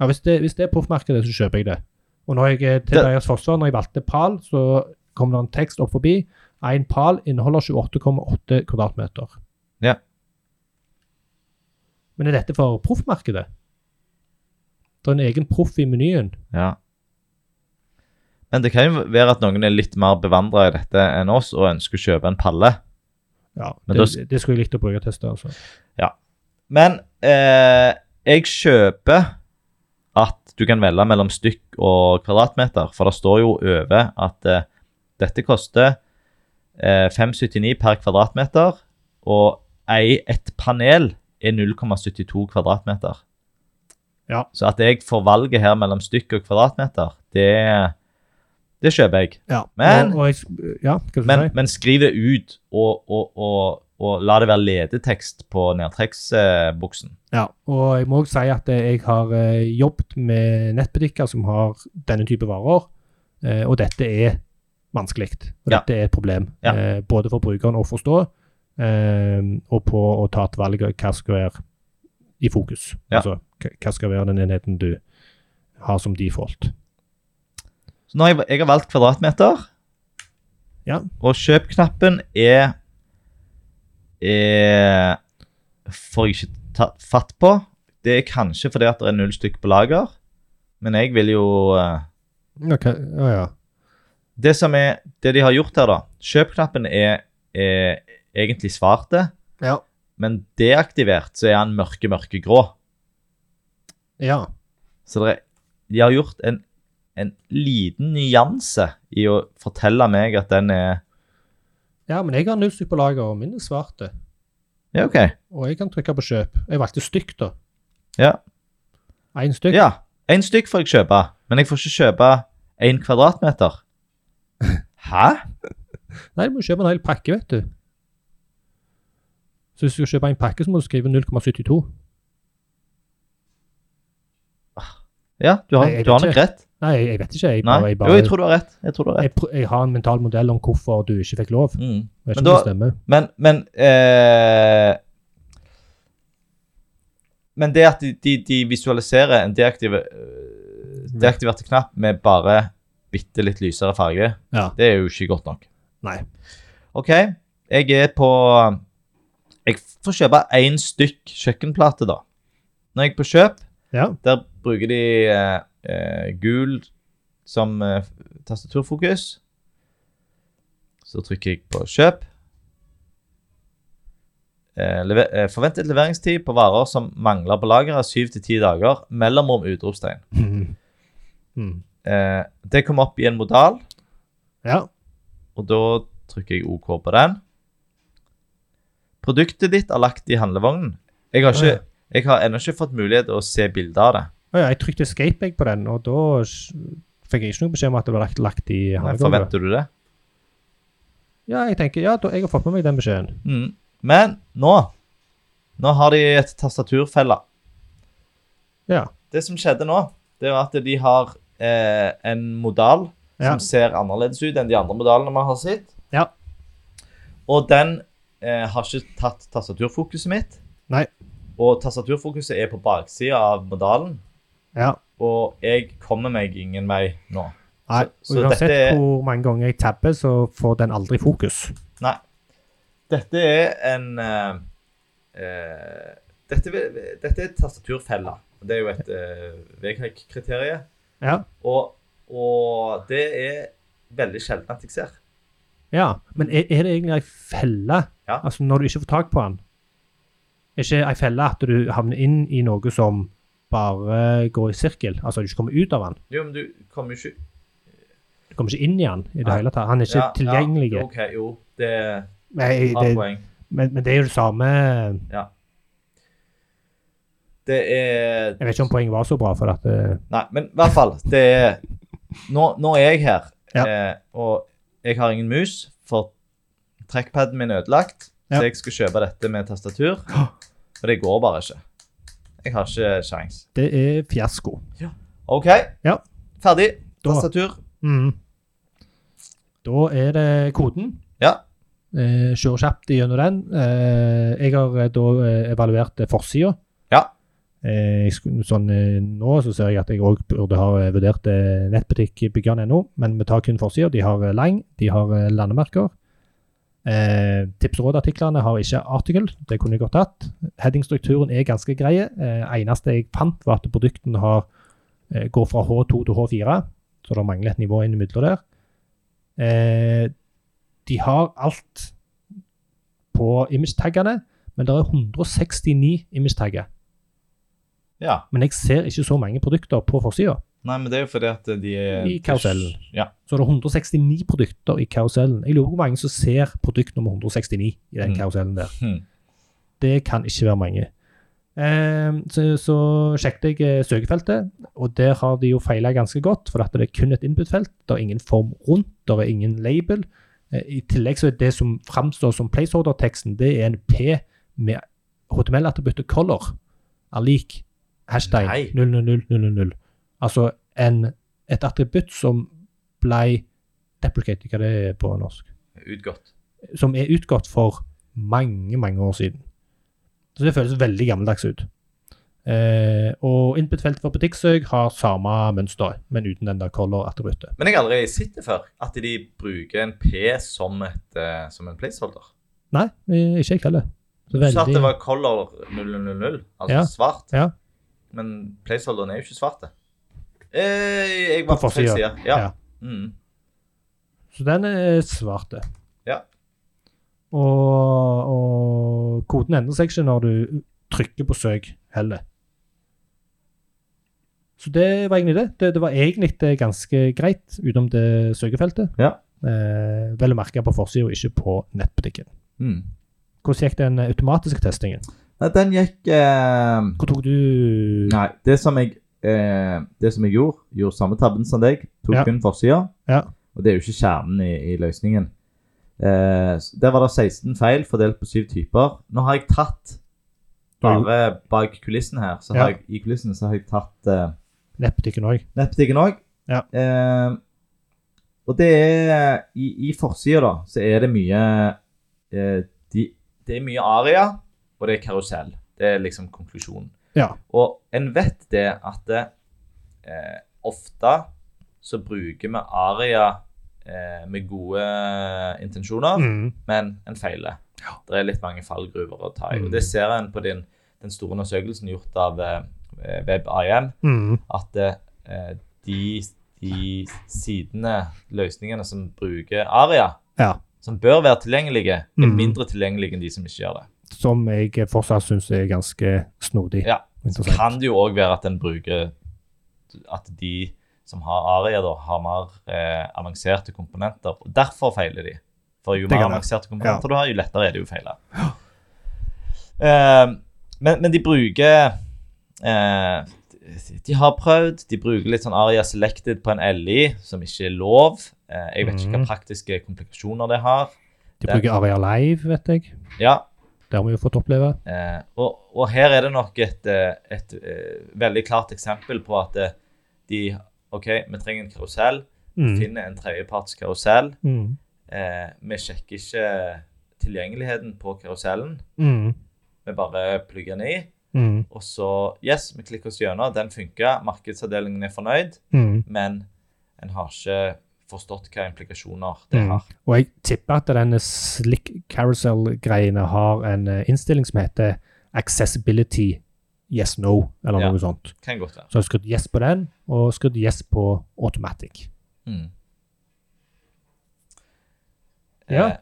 S1: Ja, Hvis det, hvis det er proffmarkedet, så kjøper jeg det. Og når jeg er til
S2: Det-
S1: deres forsvar, når jeg valgte pal, så kom det en tekst opp forbi. Én pal inneholder 28,8 kvadratmeter.
S2: Ja.
S1: Men er dette for proffmarkedet? Det er en egen proff i menyen.
S2: Ja. Men det kan jo være at noen er litt mer bevandra i dette enn oss og ønsker å kjøpe en palle.
S1: Ja,
S2: Men
S1: det,
S2: da-
S1: det skulle jeg likt å bruke tester, altså.
S2: Men eh, jeg kjøper at du kan velge mellom stykk og kvadratmeter, for det står jo over at eh, dette koster eh, 5,79 per kvadratmeter, og ei, et panel er 0,72 kvadratmeter.
S1: Ja.
S2: Så at jeg får valget her mellom stykk og kvadratmeter, det, det kjøper jeg.
S1: Ja,
S2: Men-
S1: og, og jeg, ja, hva skal du
S2: Men,
S1: si?
S2: men skriv det ut, og, og, og, og la det være ledetekst på nedtrekksbuksen.
S1: Ja, og jeg må også si at eh, jeg har eh, jobbet med nettbutikker som har denne type varer, eh, og dette er vanskelig. Og
S2: Ja.
S1: dette er et problem,
S2: Ja.
S1: eh, både for brukeren å forstå, eh, og på å ta et valg av hva skal være i fokus.
S2: Ja.
S1: Altså hva- hva skal være den enheten du har som default.
S2: Så nå har jeg, jeg har valgt kvadratmeter.
S1: Ja.
S2: Og kjøp-knappen er, er Får jeg ikke tatt fatt på. Det er kanskje fordi at det er null stykk på lager. Men jeg vil jo eh,
S1: Ok, ja, ja.
S2: Det som er det de har gjort her, da Kjøp-knappen er, er egentlig svarte.
S1: Ja.
S2: Men deaktivert så er han mørke, mørke grå.
S1: Ja.
S2: Så det er, de har gjort en, en liten nyanse i å fortelle meg at den er
S1: ja, men jeg har null stykk på lager, og min er svarte.
S2: Ja, OK.
S1: Og jeg kan trykke på kjøp. Jeg valgte stykk, da.
S2: Ja.
S1: Én stykk?
S2: Ja, én stykk får jeg kjøpe, men jeg får ikke kjøpe én kvadratmeter. Hæ?
S1: Nei, du må kjøpe en hel pakke, vet du. Så hvis du skal kjøpe en pakke, så må du skrive 0,72.
S2: Ja, du har,
S1: Nei, jeg
S2: du har
S1: vet
S2: nok rett.
S1: Nei, jeg, jeg vet ikke. Jeg,
S2: Nei.
S1: bare, jeg, bare,
S2: Jo, jeg tror du har rett. Jeg tror du har rett.
S1: jeg, pr- jeg har en mental modell om hvorfor du ikke fikk lov.
S2: Mm.
S1: Jeg vet
S2: Men
S1: ikke om
S2: da-
S1: det stemmer.
S2: Men, men eh, Men det at de, de, de visualiserer en deaktive, eh, deaktiverte knapp med bare bitte litt lysere farge,
S1: Ja.
S2: det er jo ikke godt nok.
S1: Nei.
S2: OK, jeg er på Jeg får kjøpe én stykk kjøkkenplate, da. Når jeg er på kjøp,
S1: Ja.
S2: der bruker de eh, eh, gul som eh, tastaturfokus. Så trykker jeg på kjøp. Eh, lever, eh, forventet leveringstid på varer som mangler på lageret, 7-10 dager. Mellomrom utropstegn.
S1: Mm.
S2: Eh, det kom opp i en modal,
S1: Ja.
S2: og da trykker jeg OK på den. Produktet ditt er lagt i handlevognen. Jeg har,
S1: Ja, ja.
S2: ikke, jeg har ennå ikke fått mulighet til å se bilder av det.
S1: Å ja, jeg trykte escape jeg, på den, og da s- fikk jeg ikke noe beskjed om at det var lagt, lagt i
S2: Men
S1: handlegulvet.
S2: Forventer du det?
S1: Ja, jeg tenker, ja, da, jeg har fått med meg den beskjeden.
S2: Mm. Men nå Nå har de et tastaturfelle.
S1: Ja.
S2: Det som skjedde nå, det var at de har eh, en modal
S1: Ja.
S2: som ser annerledes ut enn de andre modalene vi har sett.
S1: Ja.
S2: Og den eh, har ikke tatt tastaturfokuset mitt.
S1: Nei.
S2: Og tastaturfokuset er på baksida av modalen,
S1: ja.
S2: og jeg kommer meg ingen vei nå.
S1: Nei,
S2: Så- så
S1: uansett
S2: dette er-
S1: hvor mange ganger jeg tabber, så får den aldri fokus.
S2: Nei. Dette er en eh, eh, dette, vil- dette er tastaturfella. Det er jo et eh, VG-kriterie.
S1: Ja.
S2: Og, og det er veldig sjelden at jeg ser.
S1: Ja, men er, er det egentlig ei felle?
S2: Ja.
S1: Altså når du ikke får tak på den? Er ikke ei felle at du havner inn i noe som bare går i sirkel? Altså du ikke kommer ut av den?
S2: Jo, men du kommer jo ikke
S1: Du kommer ikke inn i den i det
S2: Nei.
S1: hele tatt? Han er ikke
S2: Ja,
S1: tilgjengelig?
S2: Ja, OK, jo. Det
S1: Nei,
S2: har
S1: det,
S2: poeng.
S1: men, men det er jo det samme
S2: Det er
S1: Jeg vet ikke om poenget var så bra, for at eh,
S2: Nei, men i hvert fall. Det er Nå, nå er jeg her,
S1: Ja.
S2: eh, og jeg har ingen mus, for trackpaden min er ødelagt.
S1: Ja.
S2: Så jeg skal kjøpe dette med tastatur, og det går bare ikke. Jeg har ikke sjans.
S1: det er fiasko.
S2: OK,
S1: Ja.
S2: ferdig.
S1: Da-
S2: Tastatur.
S1: Mm. Da er det koden.
S2: Ja.
S1: Eh, Kjør kjapt gjennom den. Eh, jeg har eh, da eh, evaluert eh, forsida.
S2: Ja.
S1: Eh, jeg skulle, sånn, eh, nå så ser jeg at jeg òg burde ha eh, vurdert eh, nettbutikkbyggerne.no, men vi tar kun forsida. De har eh, lang, de har eh, landemerker. Eh, Tipsrådartiklene har ikke artikkel, det kunne jeg godt hatt. Headingstrukturen er ganske grei. Eh, eneste jeg fant, var at produktene har, eh, går fra H2 til H4, så det mangler et nivå innimellom der. Eh, de har alt på image-taggene, men det er 169 image-tagger.
S2: ja.
S1: Men jeg ser ikke så mange produkter på forsida.
S2: Nei, men det er jo fordi at de er
S1: I karusellen.
S2: Ja.
S1: Så det er 169 produkter i karusellen. Jeg lurer på hvor mange som ser produkt nummer 169 i den
S2: Mm.
S1: karusellen der.
S2: Hmm.
S1: Det kan ikke være mange. Ehm, så, så sjekket jeg eh, søkefeltet, og der har de jo feila ganske godt. For at det er kun et input-felt, det er ingen form rundt, det er ingen label. Eh, I tillegg så er det som framstår som placeholder-teksten, det er en P med HTML-attributtet color er lik hashtag
S2: Nei.
S1: 000000. Altså en, et attributt som ble deprecated, hva det er på norsk
S2: Utgått.
S1: som er utgått for mange, mange år siden. Så det føles veldig gammeldags ut. Eh, og input-feltet for butikksøk har samme mønster, men uten den der color-attributtet.
S2: Men jeg har aldri sett det før, at de bruker en P som, et, eh, som en placeholder.
S1: Nei, eh, ikke jeg heller. Så
S2: Du sa at
S1: veldig-
S2: det var color 0000, altså
S1: Ja.
S2: svart.
S1: Ja.
S2: Men placeholderen er jo ikke svart, det. Eh, jeg var
S1: På
S2: på feil side.
S1: forsiden.
S2: Ja.
S1: Ja.
S2: Mm.
S1: Så den er svart. det.
S2: Ja.
S1: Og, og koden endrer seg ikke når du trykker på søk heller. Så det var egentlig det. Det, det var egentlig det ganske greit utenom det søkefeltet.
S2: Ja.
S1: Eh, vel å merke på forsida, ikke på nettbutikken.
S2: Mm.
S1: Hvordan gikk den automatiske testingen?
S2: Nei, den gikk eh,
S1: Hvor tok du
S2: Nei, det som jeg, eh, det som jeg gjorde, gjorde samme tabben som deg, tok
S1: Ja.
S2: kun forsida.
S1: Ja.
S2: Og det er jo ikke kjernen i, i løsningen. Eh, s- der var det 16 feil fordelt på syv typer. Nå har jeg tatt
S1: Oi.
S2: bare bak kulissen her, så
S1: Ja.
S2: har jeg, i kulissen så har jeg tatt eh,
S1: nettbutikken òg?
S2: nettbutikken òg.
S1: Ja.
S2: Eh, og det er I, i forsida, da, så er det mye eh, de, Det er mye aria, og det er karusell. Det er liksom konklusjonen.
S1: Ja.
S2: Og en vet det at det, eh, ofte så bruker vi aria eh, med gode intensjoner,
S1: Mm.
S2: men en feiler. Det er litt mange fallgruver å ta i.
S1: Mm.
S2: Og det ser en på din, den store undersøkelsen gjort av eh, WebIM
S1: Mm.
S2: at eh, de, de sidene, løsningene som bruker aria,
S1: Ja.
S2: som bør være tilgjengelige, er
S1: Mhm.
S2: mindre tilgjengelige enn de som ikke gjør det.
S1: Som jeg fortsatt syns er ganske snodig.
S2: Ja. Så
S1: Interessant.
S2: kan det jo òg være at en bruker At de som har aria, da, har mer eh, avanserte komponenter. og Derfor feiler de. For jo
S1: Det
S2: mer
S1: kan det.
S2: avanserte komponenter du har, jo lettere er det jo å feile. Eh, men, men de bruker eh, De har prøvd. De bruker litt sånn aria selected på en LI, som ikke er lov. Eh, jeg vet ikke
S1: Mhm.
S2: hva praktiske komplikasjoner det har.
S1: De bruker Aria Live, vet jeg.
S2: Ja,
S1: Det har vi jo fått oppleve.
S2: Eh, og, og her er det nok et, eh, et, eh, veldig klart eksempel på at eh, de OK, vi trenger en karusell.
S1: Mm.
S2: Finner en tredjeparts karusell.
S1: Mm.
S2: Eh, vi sjekker ikke tilgjengeligheten på karusellen.
S1: Mm.
S2: Vi bare plugger den i.
S1: Mm.
S2: Og så Yes, vi klikker oss gjennom. Den funker. Markedsavdelingen er fornøyd.
S1: Mm.
S2: Men en har ikke forstått hva implikasjoner det
S1: Mm.
S2: har.
S1: Og jeg tipper at denne slick carousel-greiene har en eh, innstilling som heter accessibility yes no, eller
S2: Ja.
S1: noe sånt.
S2: Kan godt være.
S1: Så jeg har skrudd yes på den, og skrudd yes på automatic.
S2: Mm.
S1: Ja.
S2: Eh,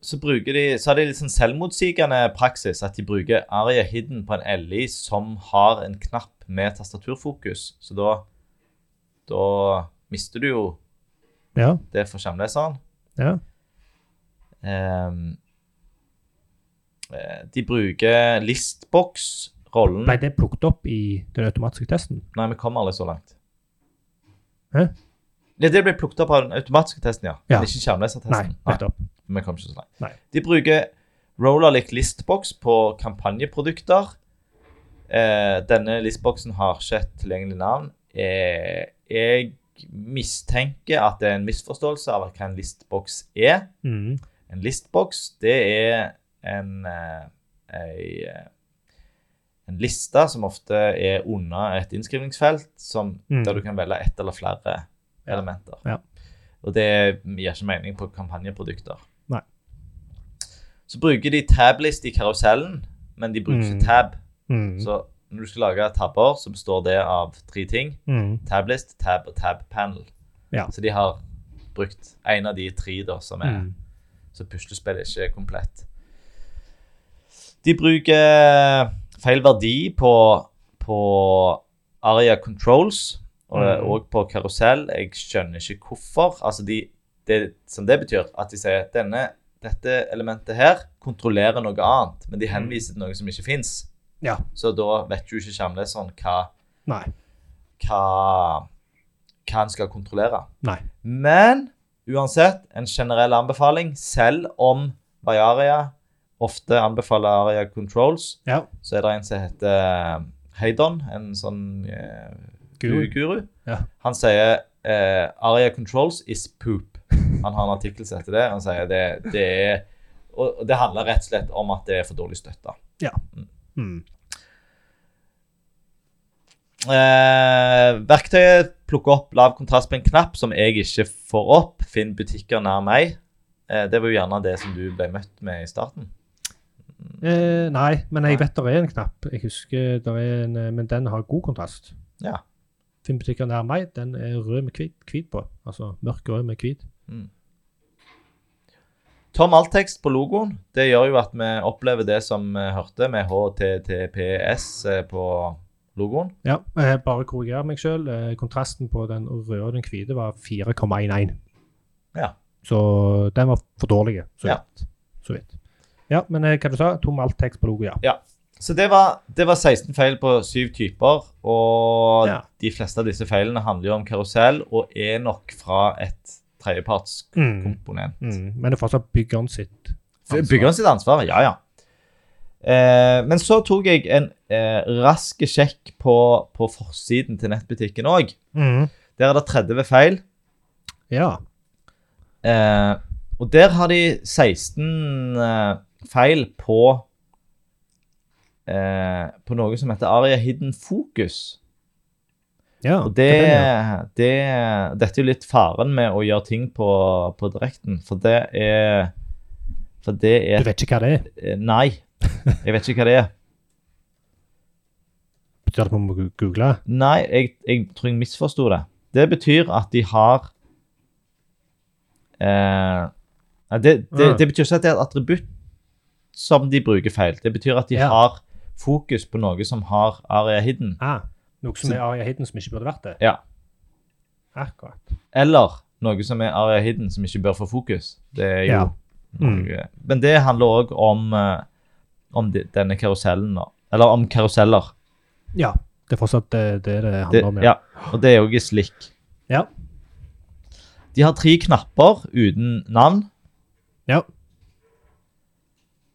S2: så, bruker de, så har de litt sånn selvmotsigende praksis at de bruker Aria Hidden på en LI som har en knapp med tastaturfokus. Så da, da mister du jo
S1: Ja.
S2: det for skjermleseren.
S1: Ja.
S2: Ehm, eh, de bruker listbox, rollen
S1: Ble det plukket opp i den automatiske testen?
S2: Nei, vi kommer aldri så langt.
S1: Hæ?
S2: Det, det ble plukket opp av den automatiske testen, ja.
S1: Ja.
S2: Men Ikke
S1: Nei,
S2: skjermlesertesten. Nei.
S1: nettopp.
S2: Vi kom ikke så langt.
S1: Nei.
S2: De bruker Rollerlick listbox på kampanjeprodukter. Eh, denne listboxen har ikke et tilgjengelig navn. Eh, jeg mistenker at det er en misforståelse av hva en listbox er.
S1: Mm.
S2: En listbox, det er en, eh, ei, eh, en liste som ofte er under et innskrivningsfelt, som,
S1: Mm.
S2: der du kan velge ett eller flere
S1: Ja.
S2: elementer.
S1: Ja.
S2: Og det gir ikke mening på kampanjeprodukter.
S1: Nei.
S2: Så bruker de tablist i karusellen, men de bruker
S1: Mm.
S2: ikke tab.
S1: Mm.
S2: Så når du skal lage tabber, så består det av tre ting.
S1: Mm.
S2: Tablist, tab og tab panel.
S1: Ja.
S2: Så de har brukt en av de tre da, som er
S1: Mm.
S2: så puslespillet ikke er komplett. De bruker feil verdi på, på Aria Controls og,
S1: Mhm.
S2: og på karusell. Jeg skjønner ikke hvorfor. Altså de, det som det betyr, at de sier at denne, dette elementet her kontrollerer noe annet, men de henviser til noe som ikke fins.
S1: Ja.
S2: Så da vet jo ikke skjermleseren hva,
S1: Nei.
S2: hva, hva han skal kontrollere.
S1: Nei.
S2: Men uansett, en generell anbefaling, selv om Bayaria ofte anbefaler Aria Controls,
S1: Ja.
S2: så er det en som heter Heidon, en sånn eh,
S1: Guru.
S2: guru.
S1: Ja.
S2: Han sier eh, Aria Controls is poop. Han har en artikkel som heter det. Han sier det, det er Og det handler rett og slett om at det er for dårlig støtte.
S1: Mm.
S2: Eh, verktøyet plukker opp lav kontrast på en knapp som jeg ikke får opp. Finn butikker nær meg. Eh, det var jo gjerne det som du ble møtt med i starten.
S1: Eh, nei, men jeg vet det er en knapp. Jeg husker der er en, eh, Men den har god kontrast.
S2: Ja.
S1: Finn butikker nær meg, den er rød med hvit, hvit på. Altså mørk rød med hvit.
S2: Tom alttekst på logoen. Det gjør jo at vi opplever det som vi hørte med HTTPS eh, på logoen.
S1: Ja, jeg bare korrigerer meg sjøl. Kontrasten på den røde og den hvite var 4,11.
S2: Ja.
S1: Så den var for dårlig, så
S2: Ja.
S1: vidt. Så vidt. Ja, men eh, hva du sa? Tom alt-tekst på logo, ja.
S2: Så det var, det var 16 feil på syv typer, og
S1: Ja.
S2: de fleste av disse feilene handler jo om karusell og er nok fra et tredjepartskomponent.
S1: Mm. Mm. Men det er fortsatt byggeren sitt.
S2: Ansvar. Byggeren sitt ansvar, ja, ja. Eh, men så tok jeg en eh, rask sjekk på, på forsiden til nettbutikken òg. Der er det 30 feil.
S1: Ja.
S2: Eh, og der har de 16 eh, feil på eh, På noe som heter Aria Hidden Focus.
S1: ja.
S2: Og
S1: er den, ja.
S2: det, det, dette er jo litt faren med å gjøre ting på, på direkten, for det er For det
S1: Du
S2: er
S1: vet ikke hva det er.
S2: eh, Nei, jeg vet ikke hva det er.
S1: Betyr det at vi må gu- google?
S2: Nei, jeg, jeg tror jeg misforsto det. Det betyr at de har eh, nei, det, det,
S1: Ja.
S2: det betyr ikke at det er et attributt som de bruker feil. Det betyr at de
S1: Ja.
S2: har fokus på noe som har aria hidden.
S1: Ah, noe som
S2: Så-
S1: er Aria Hidden som ikke burde vært det?
S2: Ja.
S1: Akkurat.
S2: Eller noe som er aria hidden, som ikke bør få fokus. Det er jo
S1: Ja. Mm.
S2: noe, Men det handler òg om, eh, om de, denne karusellen, da. Eller om karuseller.
S1: Ja. Det er fortsatt det det, det handler
S2: Det,
S1: om.
S2: ja, og det er jo i slikk.
S1: Ja.
S2: De har tre knapper uten navn.
S1: Ja.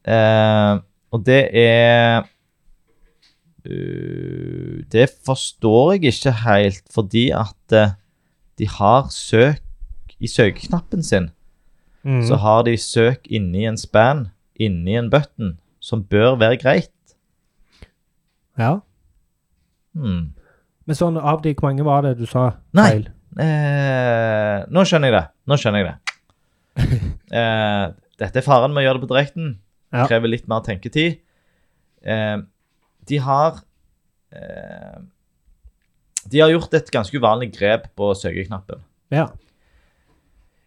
S2: Eh, og det er øh, Det forstår jeg ikke helt, fordi at eh, de har søk I søkeknappen sin
S1: Mm.
S2: så har de søk inni en span, inni en button, som bør være greit.
S1: ja.
S2: Hmm.
S1: Men sånn av de, hvor mange var det du sa
S2: Nei.
S1: feil?
S2: Eh, nå skjønner jeg det. Nå skjønner jeg det. Eh, dette er faren med å gjøre det på direkten.
S1: Ja.
S2: Krever litt mer tenketid. Eh, de har eh, De har gjort et ganske uvanlig grep på søkeknappen.
S1: Ja.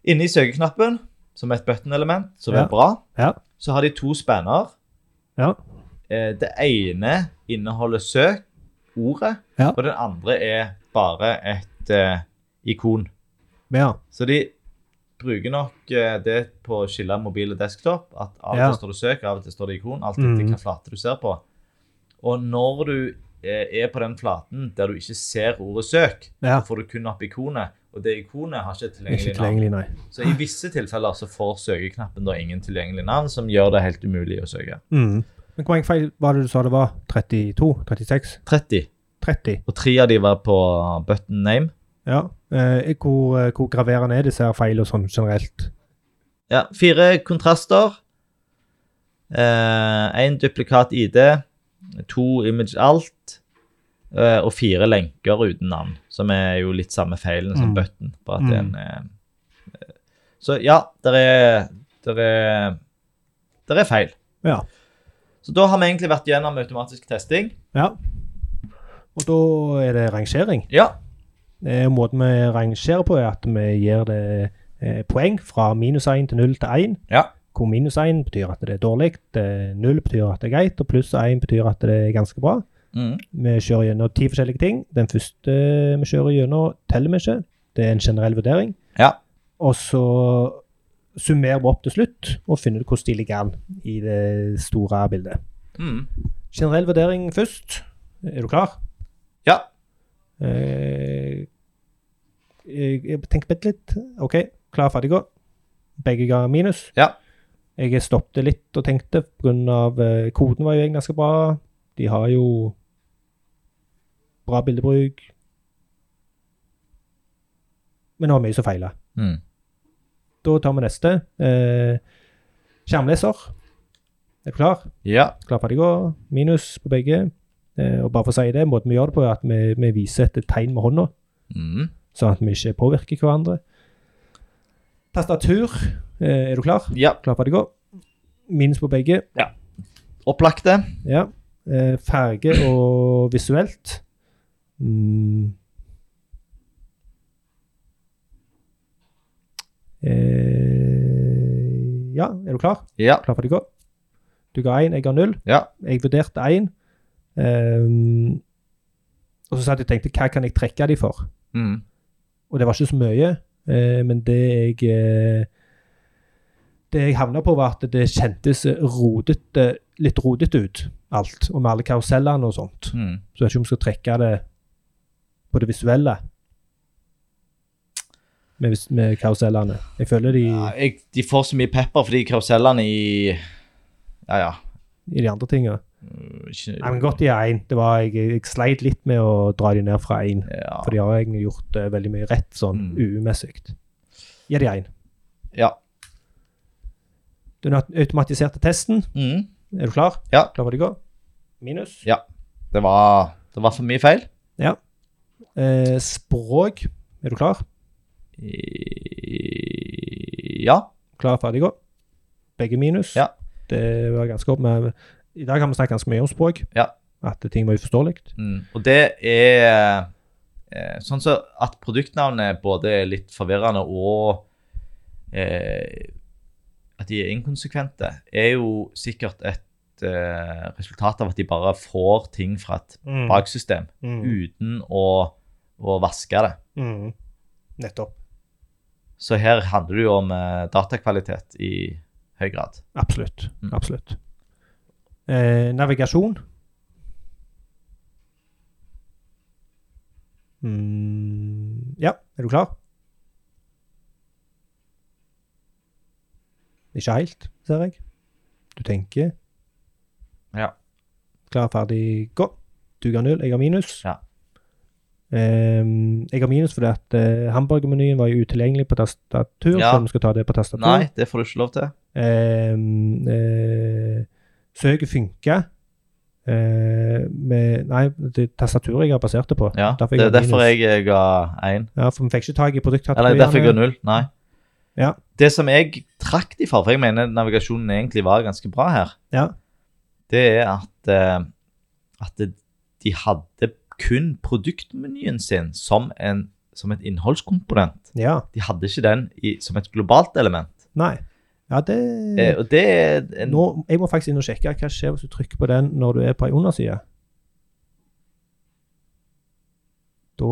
S2: Inni søkeknappen, som er et button-element, som
S1: Ja.
S2: er bra,
S1: Ja.
S2: så har de to spanner.
S1: Ja.
S2: Eh, det ene inneholder søk, ordet,
S1: Ja.
S2: og den andre er bare et eh, ikon.
S1: ja.
S2: Så de bruker nok eh, det på å skille mobil og desktop. At av og
S1: Ja.
S2: til står det søk, av og til står det ikon. Alt etter
S1: Mhm.
S2: hvilken flate du ser på. Og når du eh, er på den flaten der du ikke ser ordet søk,
S1: Ja.
S2: så får du kun opp ikonet. Og det ikonet har ikke et
S1: Ikke
S2: tilgjengelig navn.
S1: tilgjengelig, nei.
S2: Så i visse tilfeller så får søkeknappen da ingen tilgjengelig navn, som gjør det helt umulig å søke.
S1: Mm. Men hvor mange feil var det du sa det var? 32? 36?
S2: 30.
S1: 30?
S2: Og tre av de var på button name.
S1: Ja. Eh, hvor, eh, hvor graverende er disse her feilene sånn generelt?
S2: Ja, fire kontraster. Én duplikat ID. To image alt. eh, og fire lenker uten navn, som er jo litt samme feilen som
S1: Mm.
S2: button. Bare at det er en, eh, eh, så ja, der er Der er, der er feil.
S1: Ja.
S2: Så da har vi egentlig vært gjennom automatisk testing.
S1: ja. Og da er det rangering.
S2: Ja.
S1: Eh, måten vi rangerer på, er at vi gir det eh, poeng fra minus 1 til 0 til 1.
S2: Ja.
S1: Hvor minus 1 betyr at det er dårlig, eh, 0 betyr at det er greit, og pluss 1 betyr at det er ganske bra.
S2: Mm.
S1: Vi kjører gjennom ti forskjellige ting. Den første vi kjører gjennom, teller vi ikke. Det er en generell vurdering.
S2: Ja.
S1: Og så summerer vi opp til slutt og finner ut hvordan de ligger an i det store bildet.
S2: Mm.
S1: Generell vurdering først. Er du klar?
S2: ja.
S1: Eh, jeg jeg tenker bitte litt. OK, klar, ferdig, gå. Begge ga minus.
S2: Ja.
S1: Jeg stoppet litt og tenkte pga. Eh, koden var jo egentlig ganske bra. De har jo bra bildebruk. Men det var mye som feilet.
S2: Mm.
S1: Da tar vi neste. Eh, Skjermleser. Er du klar?
S2: Ja.
S1: Klar, ferdig, gå. Minus på begge. Eh, og bare for å si det, måten vi gjør det på, er at vi, vi viser et tegn med hånda,
S2: Mm.
S1: sånn at vi ikke påvirker hverandre. Tastatur. Eh, er du klar?
S2: Ja.
S1: Klar, ferdig, gå. Minus på begge.
S2: Opplagte.
S1: Ja. Eh, farge og visuelt. Mm. Eh, ja, er du klar?
S2: Ja.
S1: Klar for det går? Du ga én, jeg ga null.
S2: Ja.
S1: Jeg vurderte én. Ehm, og så satt jeg og tenkte hva kan jeg trekke de for?
S2: Mm.
S1: Og det var ikke så mye, eh, men det jeg eh, Det jeg havna på, var at det kjentes rodete, litt rodete ut, alt. Og med alle karusellene og sånt.
S2: Mm.
S1: Så jeg vet ikke om vi skal trekke det på det visuelle med, vis- med karusellene. Jeg føler de
S2: Ja, jeg, de får så mye pepper fordi karusellene i Ja, ja.
S1: i de andre tinga.
S2: Uh,
S1: Nei,
S2: Ikke,
S1: men godt de er én. Det var- Jeg, jeg sleit litt med å dra de ned fra én.
S2: ja.
S1: For de har egentlig gjort eh, veldig mye rett sånn
S2: Mm.
S1: uumessig. Gi de én.
S2: ja.
S1: Den aut- automatiserte testen.
S2: Mm.
S1: Er du klar?
S2: Ja.
S1: Klar for det går? Minus.
S2: Det, var, det var for mye feil.
S1: Eh, språk. Er du klar?
S2: I- Ja.
S1: Klar, ferdig, gå. Begge minus.
S2: Ja.
S1: Det var ganske opp med I dag har vi snakket ganske mye om språk.
S2: Ja.
S1: At ting var uforståelig.
S2: Mm. Og det er eh, sånn så at produktnavnet både er litt forvirrende og eh, at de er inkonsekvente, er jo sikkert et eh, resultat av at de bare får ting fra et baksystem
S1: Mm.
S2: uten å, å vaske det.
S1: Mm. Nettopp.
S2: Så her handler det jo om eh, datakvalitet i høy grad.
S1: Absolutt.
S2: Mm.
S1: Absolutt. Eh, navigasjon. Mm. Ja, er du klar? Ikke helt, ser jeg. Du tenker.
S2: Ja.
S1: Klar, ferdig, gå. Du ga null, jeg har minus.
S2: Ja.
S1: Ehm, jeg har minus fordi at eh, hamburgermenyen var jo utilgjengelig på tastatur,
S2: Ja.
S1: så vi skal ta det på tastatur.
S2: Nei, det får du ikke lov til.
S1: Ehm, eh, Søket funker. eh, med Nei, det er tastaturet jeg har basert det på.
S2: Ja,
S1: Derfor jeg
S2: det er
S1: ga
S2: derfor
S1: minus.
S2: jeg eh, ga én.
S1: Ja, For vi fikk ikke tak i
S2: Eller
S1: produktkategoriene.
S2: derfor jeg ga null. Nei.
S1: Ja.
S2: Det som jeg trakk de for, for jeg mener navigasjonen egentlig var ganske bra her,
S1: Ja.
S2: det er at, eh, at det- de hadde kun produktmenyen sin som, en, som et innholdskomponent.
S1: Ja,
S2: De hadde ikke den i, som et globalt element.
S1: nei. Ja, det
S2: Eh, og det er en,
S1: Mm. nå, Jeg må faktisk inn og sjekke hva skjer hvis du trykker på den når du er på ei underside. Da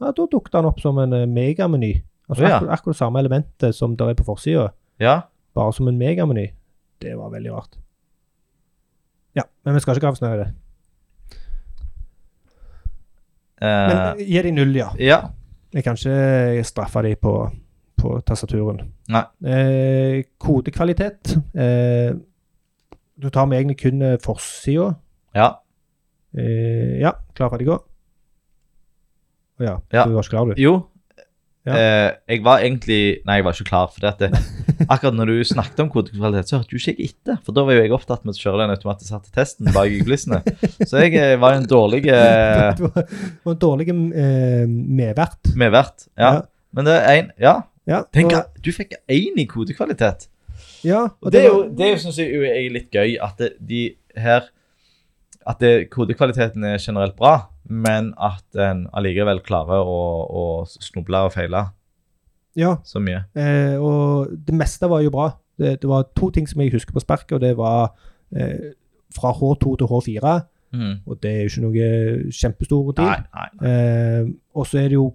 S1: ja, Da dukket den opp som en eh, megameny. Altså
S2: Å, ja.
S1: akkurat, akkurat det samme elementet som der er på forsida.
S2: Ja,
S1: bare som en megameny. Det var veldig rart. Ja, men vi skal ikke avsnøre det. Men
S2: eh,
S1: eh, gi de null, ja.
S2: ja.
S1: Jeg kan ikke straffe de på, på tastaturen.
S2: Nei.
S1: Eh, kodekvalitet. Eh, da tar vi egentlig kun eh, forsida.
S2: ja.
S1: Eh, ja, klar, ferdig, gå. Å ja,
S2: Ja.
S1: du var ikke klar, du.
S2: Jo.
S1: Ja.
S2: Eh, jeg var egentlig Nei, jeg var ikke klar. For det at det, akkurat når du snakket om kodekvalitet, så hørte jo ikke jeg etter. For da var jo jeg opptatt med å kjøre den automatiserte testen bak i kulissene. Så jeg eh, var en dårlig eh,
S1: Det var det var en dårlig eh, medvert.
S2: medvert. Ja.
S1: Ja.
S2: Men det er én Ja,
S1: Ja,
S2: tenk,
S1: og,
S2: at du fikk én i kodekvalitet.
S1: ja, og
S2: Og det er jo,
S1: var-
S2: det er jo synes jeg jo er litt gøy at det, de her At det, kodekvaliteten er generelt bra, men at en allikevel klarer å, å snuble og feile
S1: ja,
S2: så mye.
S1: Eh, og det meste var jo bra. Det, det var to ting som jeg husker på sparket, og det var eh, fra H2 til H4.
S2: Mm.
S1: Og det er jo ikke noe kjempestor
S2: Nei,
S1: deal.
S2: nei.
S1: Eh, og så er det jo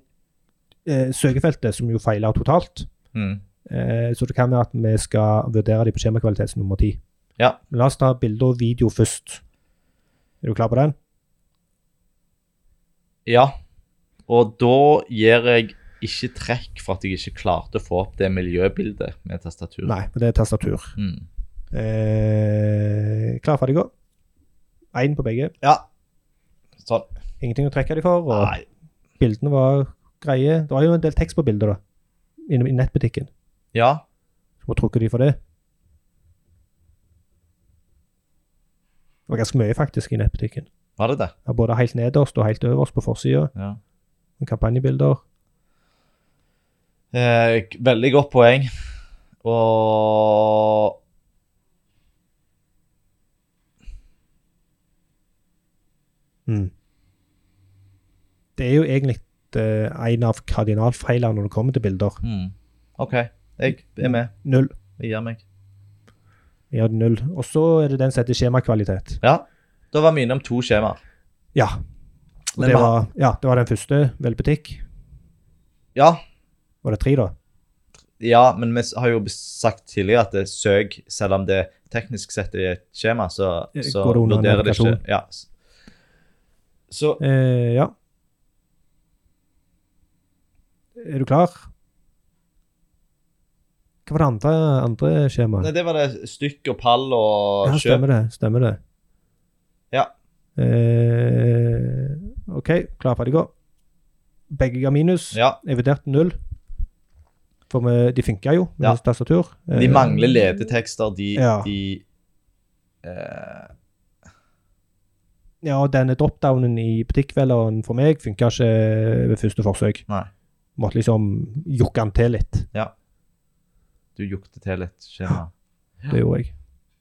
S1: eh, søkefeltet, som jo feiler totalt.
S2: Mm.
S1: Eh, så det kan være at vi skal vurdere de på skjemakvalitet som nummer ti.
S2: Ja.
S1: Men La oss ta bilde og video først. Er du klar på den?
S2: Ja, og da gir jeg ikke trekk for at jeg ikke klarte å få opp det miljøbildet med tastatur.
S1: Nei, for det er tastatur.
S2: Mm.
S1: Eh, klar, ferdig, gå. Én på begge.
S2: Ja. Sånn.
S1: Ingenting å trekke de for. Og...
S2: Nei.
S1: bildene var greie. Det var jo en del tekst på bildet da, inne i nettbutikken.
S2: Ja.
S1: Så må trukke de for det. Det var ganske mye faktisk i nettbutikken.
S2: Var det det?
S1: Ja, både helt nederst og helt øverst på forsida.
S2: Ja.
S1: Kampanjebilder.
S2: Eh, k- veldig godt poeng. Og
S1: Mm. Det er jo egentlig eh, en av kardinalfeilene når det kommer til bilder.
S2: mm. OK, jeg er med.
S1: Null.
S2: Jeg gir meg.
S1: Ja, null. Og så er det den som heter skjemakvalitet.
S2: Ja, da var mine om to skjemaer.
S1: Ja. Og
S2: Men
S1: det
S2: vi har-
S1: var, ja, det var den første, vel butikk.
S2: Ja,
S1: Var det tre, da?
S2: Ja, men vi s- har jo sagt tidligere at det søk, selv om det teknisk sett er et skjema, så,
S1: Eh,
S2: så
S1: går det under
S2: vurderer det ikke
S1: navigasjon?
S2: ja. s- Så
S1: Eh, ja. Er du klar? Hva var det andre, andre
S2: Nei,
S1: skjemaet?
S2: det var det stykk og pall og
S1: Ja,
S2: kjøp.
S1: stemmer det. Stemmer det.
S2: Ja.
S1: Eh, OK, klar, ferdig, gå. Begge ga minus.
S2: Ja,
S1: Jeg vurderte null. For vi, de funka jo med
S2: Ja.
S1: tastatur.
S2: de mangler ledetekster, de,
S1: Eh, Ja.
S2: de eh,
S1: Ja, og denne dropdownen i butikkvelgeren for meg funka ikke ved første forsøk.
S2: Nei.
S1: Måtte liksom jokke den til litt.
S2: Du jukte til litt skjema.
S1: Det gjorde jeg.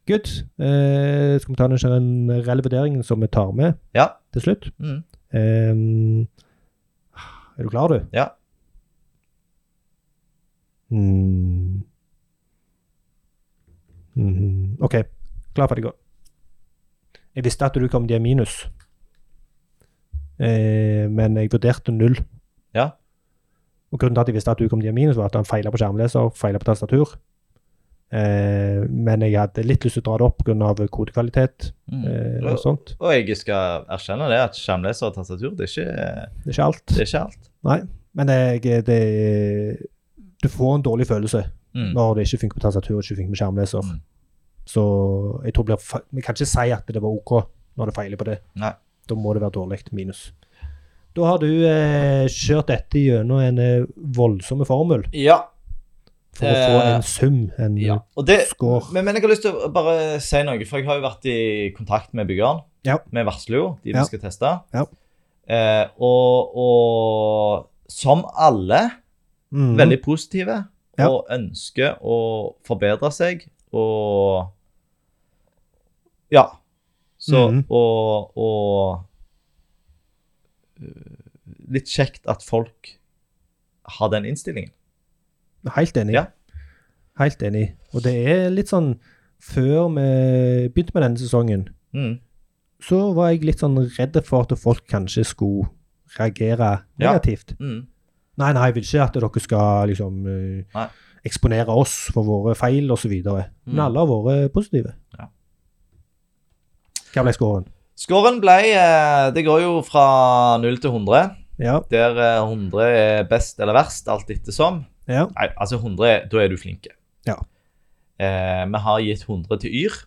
S1: Good. Eh, skal vi ta den generelle vurderingen som vi tar med
S2: Ja.
S1: til slutt?
S2: Mm.
S1: Ehm, er du klar, du?
S2: Ja.
S1: Mm. Mm. OK. Klar, ferdig, gå. Jeg visste at du kom til minus, eh, men jeg vurderte null.
S2: Ja.
S1: Og Grunnen til at jeg visste at du kom til minus, var at han feila på skjermleser, feila på tastatur. Eh, men jeg hadde litt lyst til å dra det opp pga. kodekvalitet
S2: Mm.
S1: eh, og
S2: Og,
S1: sånt.
S2: og jeg skal erkjenne det, at skjermleser og tastatur, det er ikke,
S1: Det er ikke alt.
S2: det er ikke alt.
S1: Men det, det, det Du får en dårlig følelse
S2: Mm.
S1: når det ikke funker på tastatur og ikke funker med skjermleser.
S2: Mm.
S1: Så jeg tror det blir fe- Vi kan ikke si at det var OK når det feiler på det.
S2: Nei.
S1: Da må det være dårlig minus. Da har du eh, kjørt dette gjennom en eh, voldsom formel
S2: Ja.
S1: for å få
S2: Eh,
S1: en sum, en
S2: Ja. Og det,
S1: score.
S2: men, men jeg har lyst til å bare si noe, for jeg har jo vært i kontakt med byggeren.
S1: Ja.
S2: Vi varsler jo de vi
S1: Ja.
S2: skal teste.
S1: Ja.
S2: Eh, og, og som alle,
S1: Mhm.
S2: veldig positive
S1: Ja.
S2: og ønsker å forbedre seg og Ja. Så
S1: Mhm.
S2: og, og øh, Litt kjekt at folk har den innstillingen.
S1: Helt enig.
S2: Ja.
S1: Helt enig. Og det er litt sånn Før vi begynte med denne sesongen,
S2: Mm.
S1: så var jeg litt sånn redd for at folk kanskje skulle reagere
S2: Ja.
S1: negativt.
S2: Mm.
S1: Nei, nei, jeg vil ikke at dere skal liksom eh,
S2: Nei.
S1: eksponere oss for våre feil osv. Men
S2: Mm.
S1: alle har vært positive.
S2: Ja.
S1: Hva ble scoren?
S2: Skåren ble eh, Det går jo fra 0 til 100.
S1: Ja,
S2: Der eh, 100 er best eller verst, alt ettersom.
S1: ja,
S2: Nei, altså 100, er- da er du flinke.
S1: Ja.
S2: Eh, vi har gitt 100 til Yr,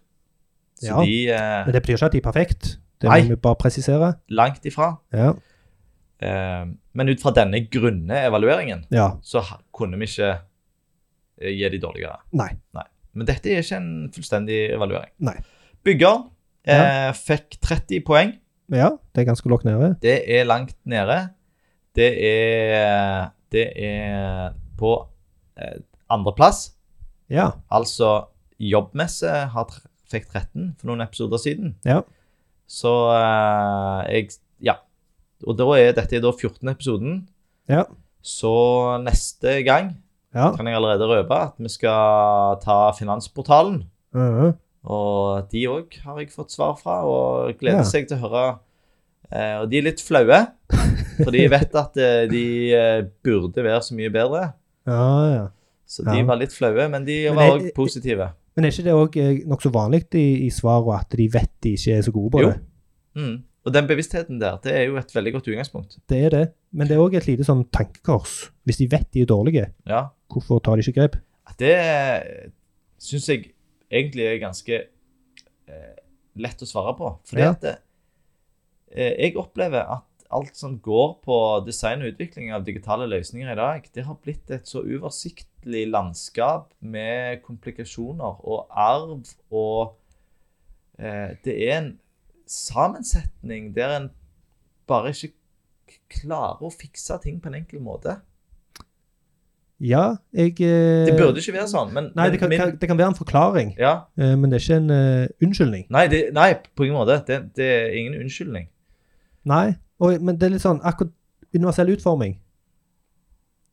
S2: så
S1: Ja.
S2: de er
S1: Men det betyr ikke at de er perfekt. Det
S2: Nei.
S1: må vi bare presisere.
S2: langt ifra.
S1: Ja,
S2: Eh, men ut fra denne grunne evalueringen,
S1: ja.
S2: så ha- kunne vi ikke eh, gi de dårligere.
S1: Nei.
S2: Men dette er ikke en fullstendig evaluering.
S1: Nei.
S2: Byggeren eh, fikk 30 poeng.
S1: ja det er ganske lågt nede.
S2: Det er langt nede. Det er Det er på eh, andreplass.
S1: Ja.
S2: Altså, jobbmesse har, tr- fikk 13 for noen episoder siden.
S1: Ja.
S2: Så eh, jeg Ja. Og da er dette er da 14. episoden.
S1: Ja.
S2: Så neste gang
S1: ja.
S2: kan jeg allerede røpe at vi skal ta Finansportalen.
S1: Mhm.
S2: Og de òg har jeg fått svar fra, og gleder
S1: Ja.
S2: seg til å høre. Eh, og de er litt flaue, for de vet at eh, de eh, burde være så mye bedre.
S1: ja, ja.
S2: Så de
S1: Ja.
S2: var litt flaue, men de
S1: Men
S2: var
S1: jeg-
S2: òg positive.
S1: Men er ikke det òg nokså vanlig i, i svarene at de vet de ikke er så gode på
S2: Jo.
S1: det?
S2: Mm. Og den bevisstheten der, det er jo et veldig godt utgangspunkt.
S1: Det er det. Men det er òg et lite sånn tankekors. Hvis de vet de er dårlige,
S2: Ja.
S1: hvorfor tar de ikke grep?
S2: At Det syns jeg egentlig er ganske eh, lett å svare på. Fordi
S1: Ja.
S2: at det, eh, jeg opplever at alt som går på design og utvikling av digitale løsninger i dag, det har blitt et så uoversiktlig landskap med komplikasjoner og arv og eh, Det er en sammensetning der en bare ikke k- klarer å fikse ting på en enkel måte.
S1: Ja, jeg eh,
S2: Det burde ikke være sånn, men
S1: Nei,
S2: men
S1: det kan,
S2: min-
S1: kan, det kan være en forklaring,
S2: ja,
S1: eh, men det er ikke en eh, unnskyldning.
S2: nei, det, nei, på ingen måte. Det, det er ingen unnskyldning.
S1: Nei, og, men det er litt sånn akkurat universell utforming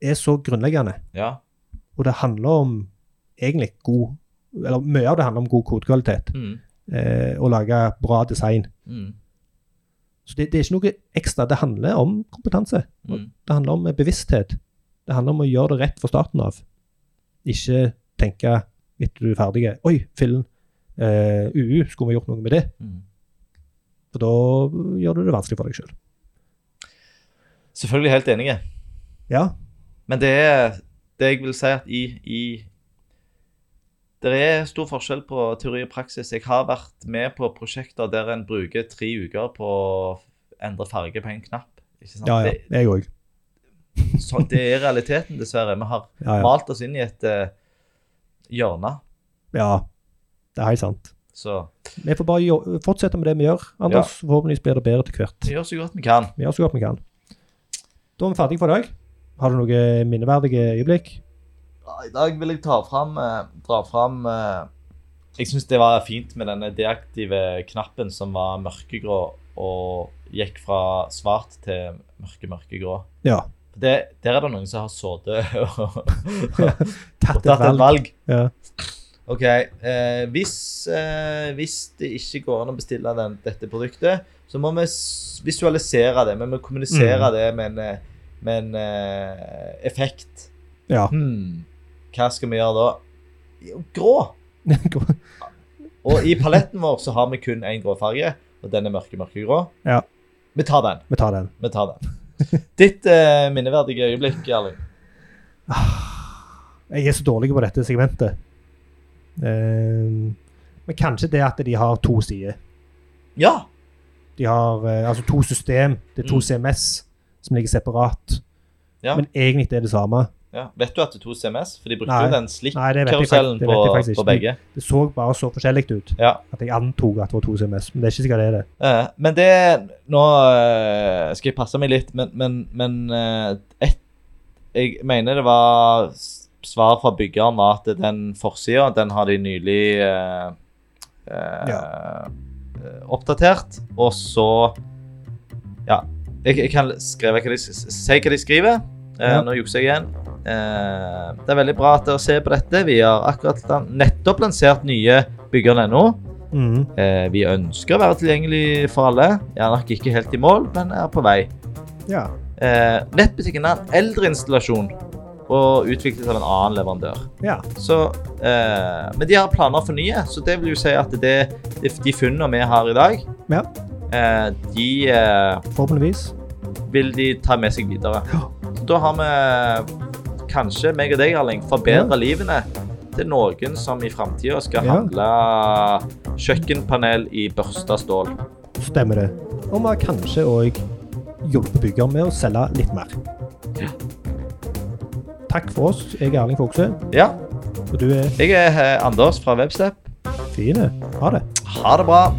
S1: er så grunnleggende,
S2: Ja.
S1: og det handler om egentlig god Eller mye av det handler om god kodekvalitet
S2: Mm,
S1: eh, og lage bra design.
S2: mm,
S1: Så det, det er ikke noe ekstra. Det handler om kompetanse.
S2: mm.
S1: Det handler om eh, bevissthet. Det handler om å gjøre det rett fra starten av. Ikke tenke etter du er ferdig Oi, fillen. Eh, UU, skulle vi gjort noe med det?
S2: Mm.
S1: For da gjør du det vanskelig for deg sjøl.
S2: Selvfølgelig helt enige.
S1: Ja.
S2: Men det er det jeg vil si at i, i Det er stor forskjell på teori og praksis. Jeg har vært med på prosjekter der en bruker tre uker på å endre farge på en knapp. Ikke sant?
S1: ja, ja.
S2: Det,
S1: Jeg òg.
S2: så, det er realiteten, dessverre. Vi har
S1: Ja, ja.
S2: malt oss inn i et eh, hjørne.
S1: ja. Det er helt sant.
S2: Så
S1: Vi får bare jo- fortsette med det vi gjør, Anders. Forhåpentligvis blir det bedre til hvert.
S2: vi gjør så godt vi kan.
S1: Vi gjør så godt vi kan. Da er vi ferdige for i dag. Har du noen minneverdige øyeblikk?
S2: Ja, I dag vil jeg ta fram, eh, dra fram eh, Jeg syns det var fint med denne deaktive knappen som var mørkegrå og gikk fra svart til mørke, mørkegrå.
S1: Ja.
S2: Det, der er det noen som har sittet og, og
S1: Tatt et
S2: tatt et
S1: valg.
S2: valg.
S1: Ja.
S2: OK. Eh, hvis, eh, hvis det ikke går an å bestille den, dette produktet, så må vi s- visualisere det. Vi må
S1: Mm.
S2: kommunisere det med en, eh, med en eh, effekt.
S1: ja.
S2: Hmm, hva skal vi gjøre da? Jo, Grå. Og i paletten vår så har vi kun én grå farge, og den er mørke, mørkegrå.
S1: Ja.
S2: Vi tar den.
S1: vi tar den.
S2: vi tar den. Ditt eh, minneverdige øyeblikk, Erling.
S1: Jeg er så dårlig på dette segmentet. Ehm, men kanskje det at de har to sider.
S2: Ja.
S1: De har eh, altså to system. Det er to
S2: Mm.
S1: CMS som ligger separat.
S2: Ja.
S1: Men egentlig er det samme.
S2: ja. Vet du at det er to CMS? For de brukte
S1: Nei.
S2: jo den
S1: Nei, det vet jeg fakt-
S2: slikk-karusellen
S1: det
S2: på,
S1: vet jeg faktisk
S2: på
S1: ikke.
S2: begge.
S1: Det så bare så forskjellig ut
S2: Ja.
S1: at jeg antok at det var to CMS. Men det er ikke sikkert det er det.
S2: Eh, men det Nå eh, skal jeg passe meg litt, men, men, men eh, et, Jeg mener det var s- svar fra byggeren var at den forsida, den har de nylig eh, eh, eh, oppdatert. Og så Ja. Jeg, jeg kan skrive hva de, s- si hva de skriver. Eh,
S1: Ja.
S2: Nå jukser jeg igjen. Eh, det er veldig bra at dere ser på dette. Vi har akkurat lan- nettopp lansert nye byggeren.no.
S1: Mhm.
S2: Eh, vi ønsker å være tilgjengelig for alle. Jeg er nok ikke helt i mål, men er på vei.
S1: Ja.
S2: Eh, nettbutikken er en eldre installasjon og utviklet av en annen leverandør.
S1: ja.
S2: Så, eh, men de har planer for nye, så det vil jo si at det, det, de funnene vi har i dag,
S1: Ja.
S2: eh, de eh,
S1: Forhåpentligvis.
S2: vil de ta med seg videre. Så da har vi kanskje, meg og deg, Erling, forbedra livene til noen som i framtida skal
S1: Ja.
S2: handle kjøkkenpanel i børsta stål.
S1: Stemmer det. Og vi har kanskje òg hjulpet bygger med å selge litt mer. Takk for oss. Jeg er Erling Fogse,
S2: Ja,
S1: og du er
S2: jeg er eh, Anders fra Webstep.
S1: fin. Ha det.
S2: Ha det bra.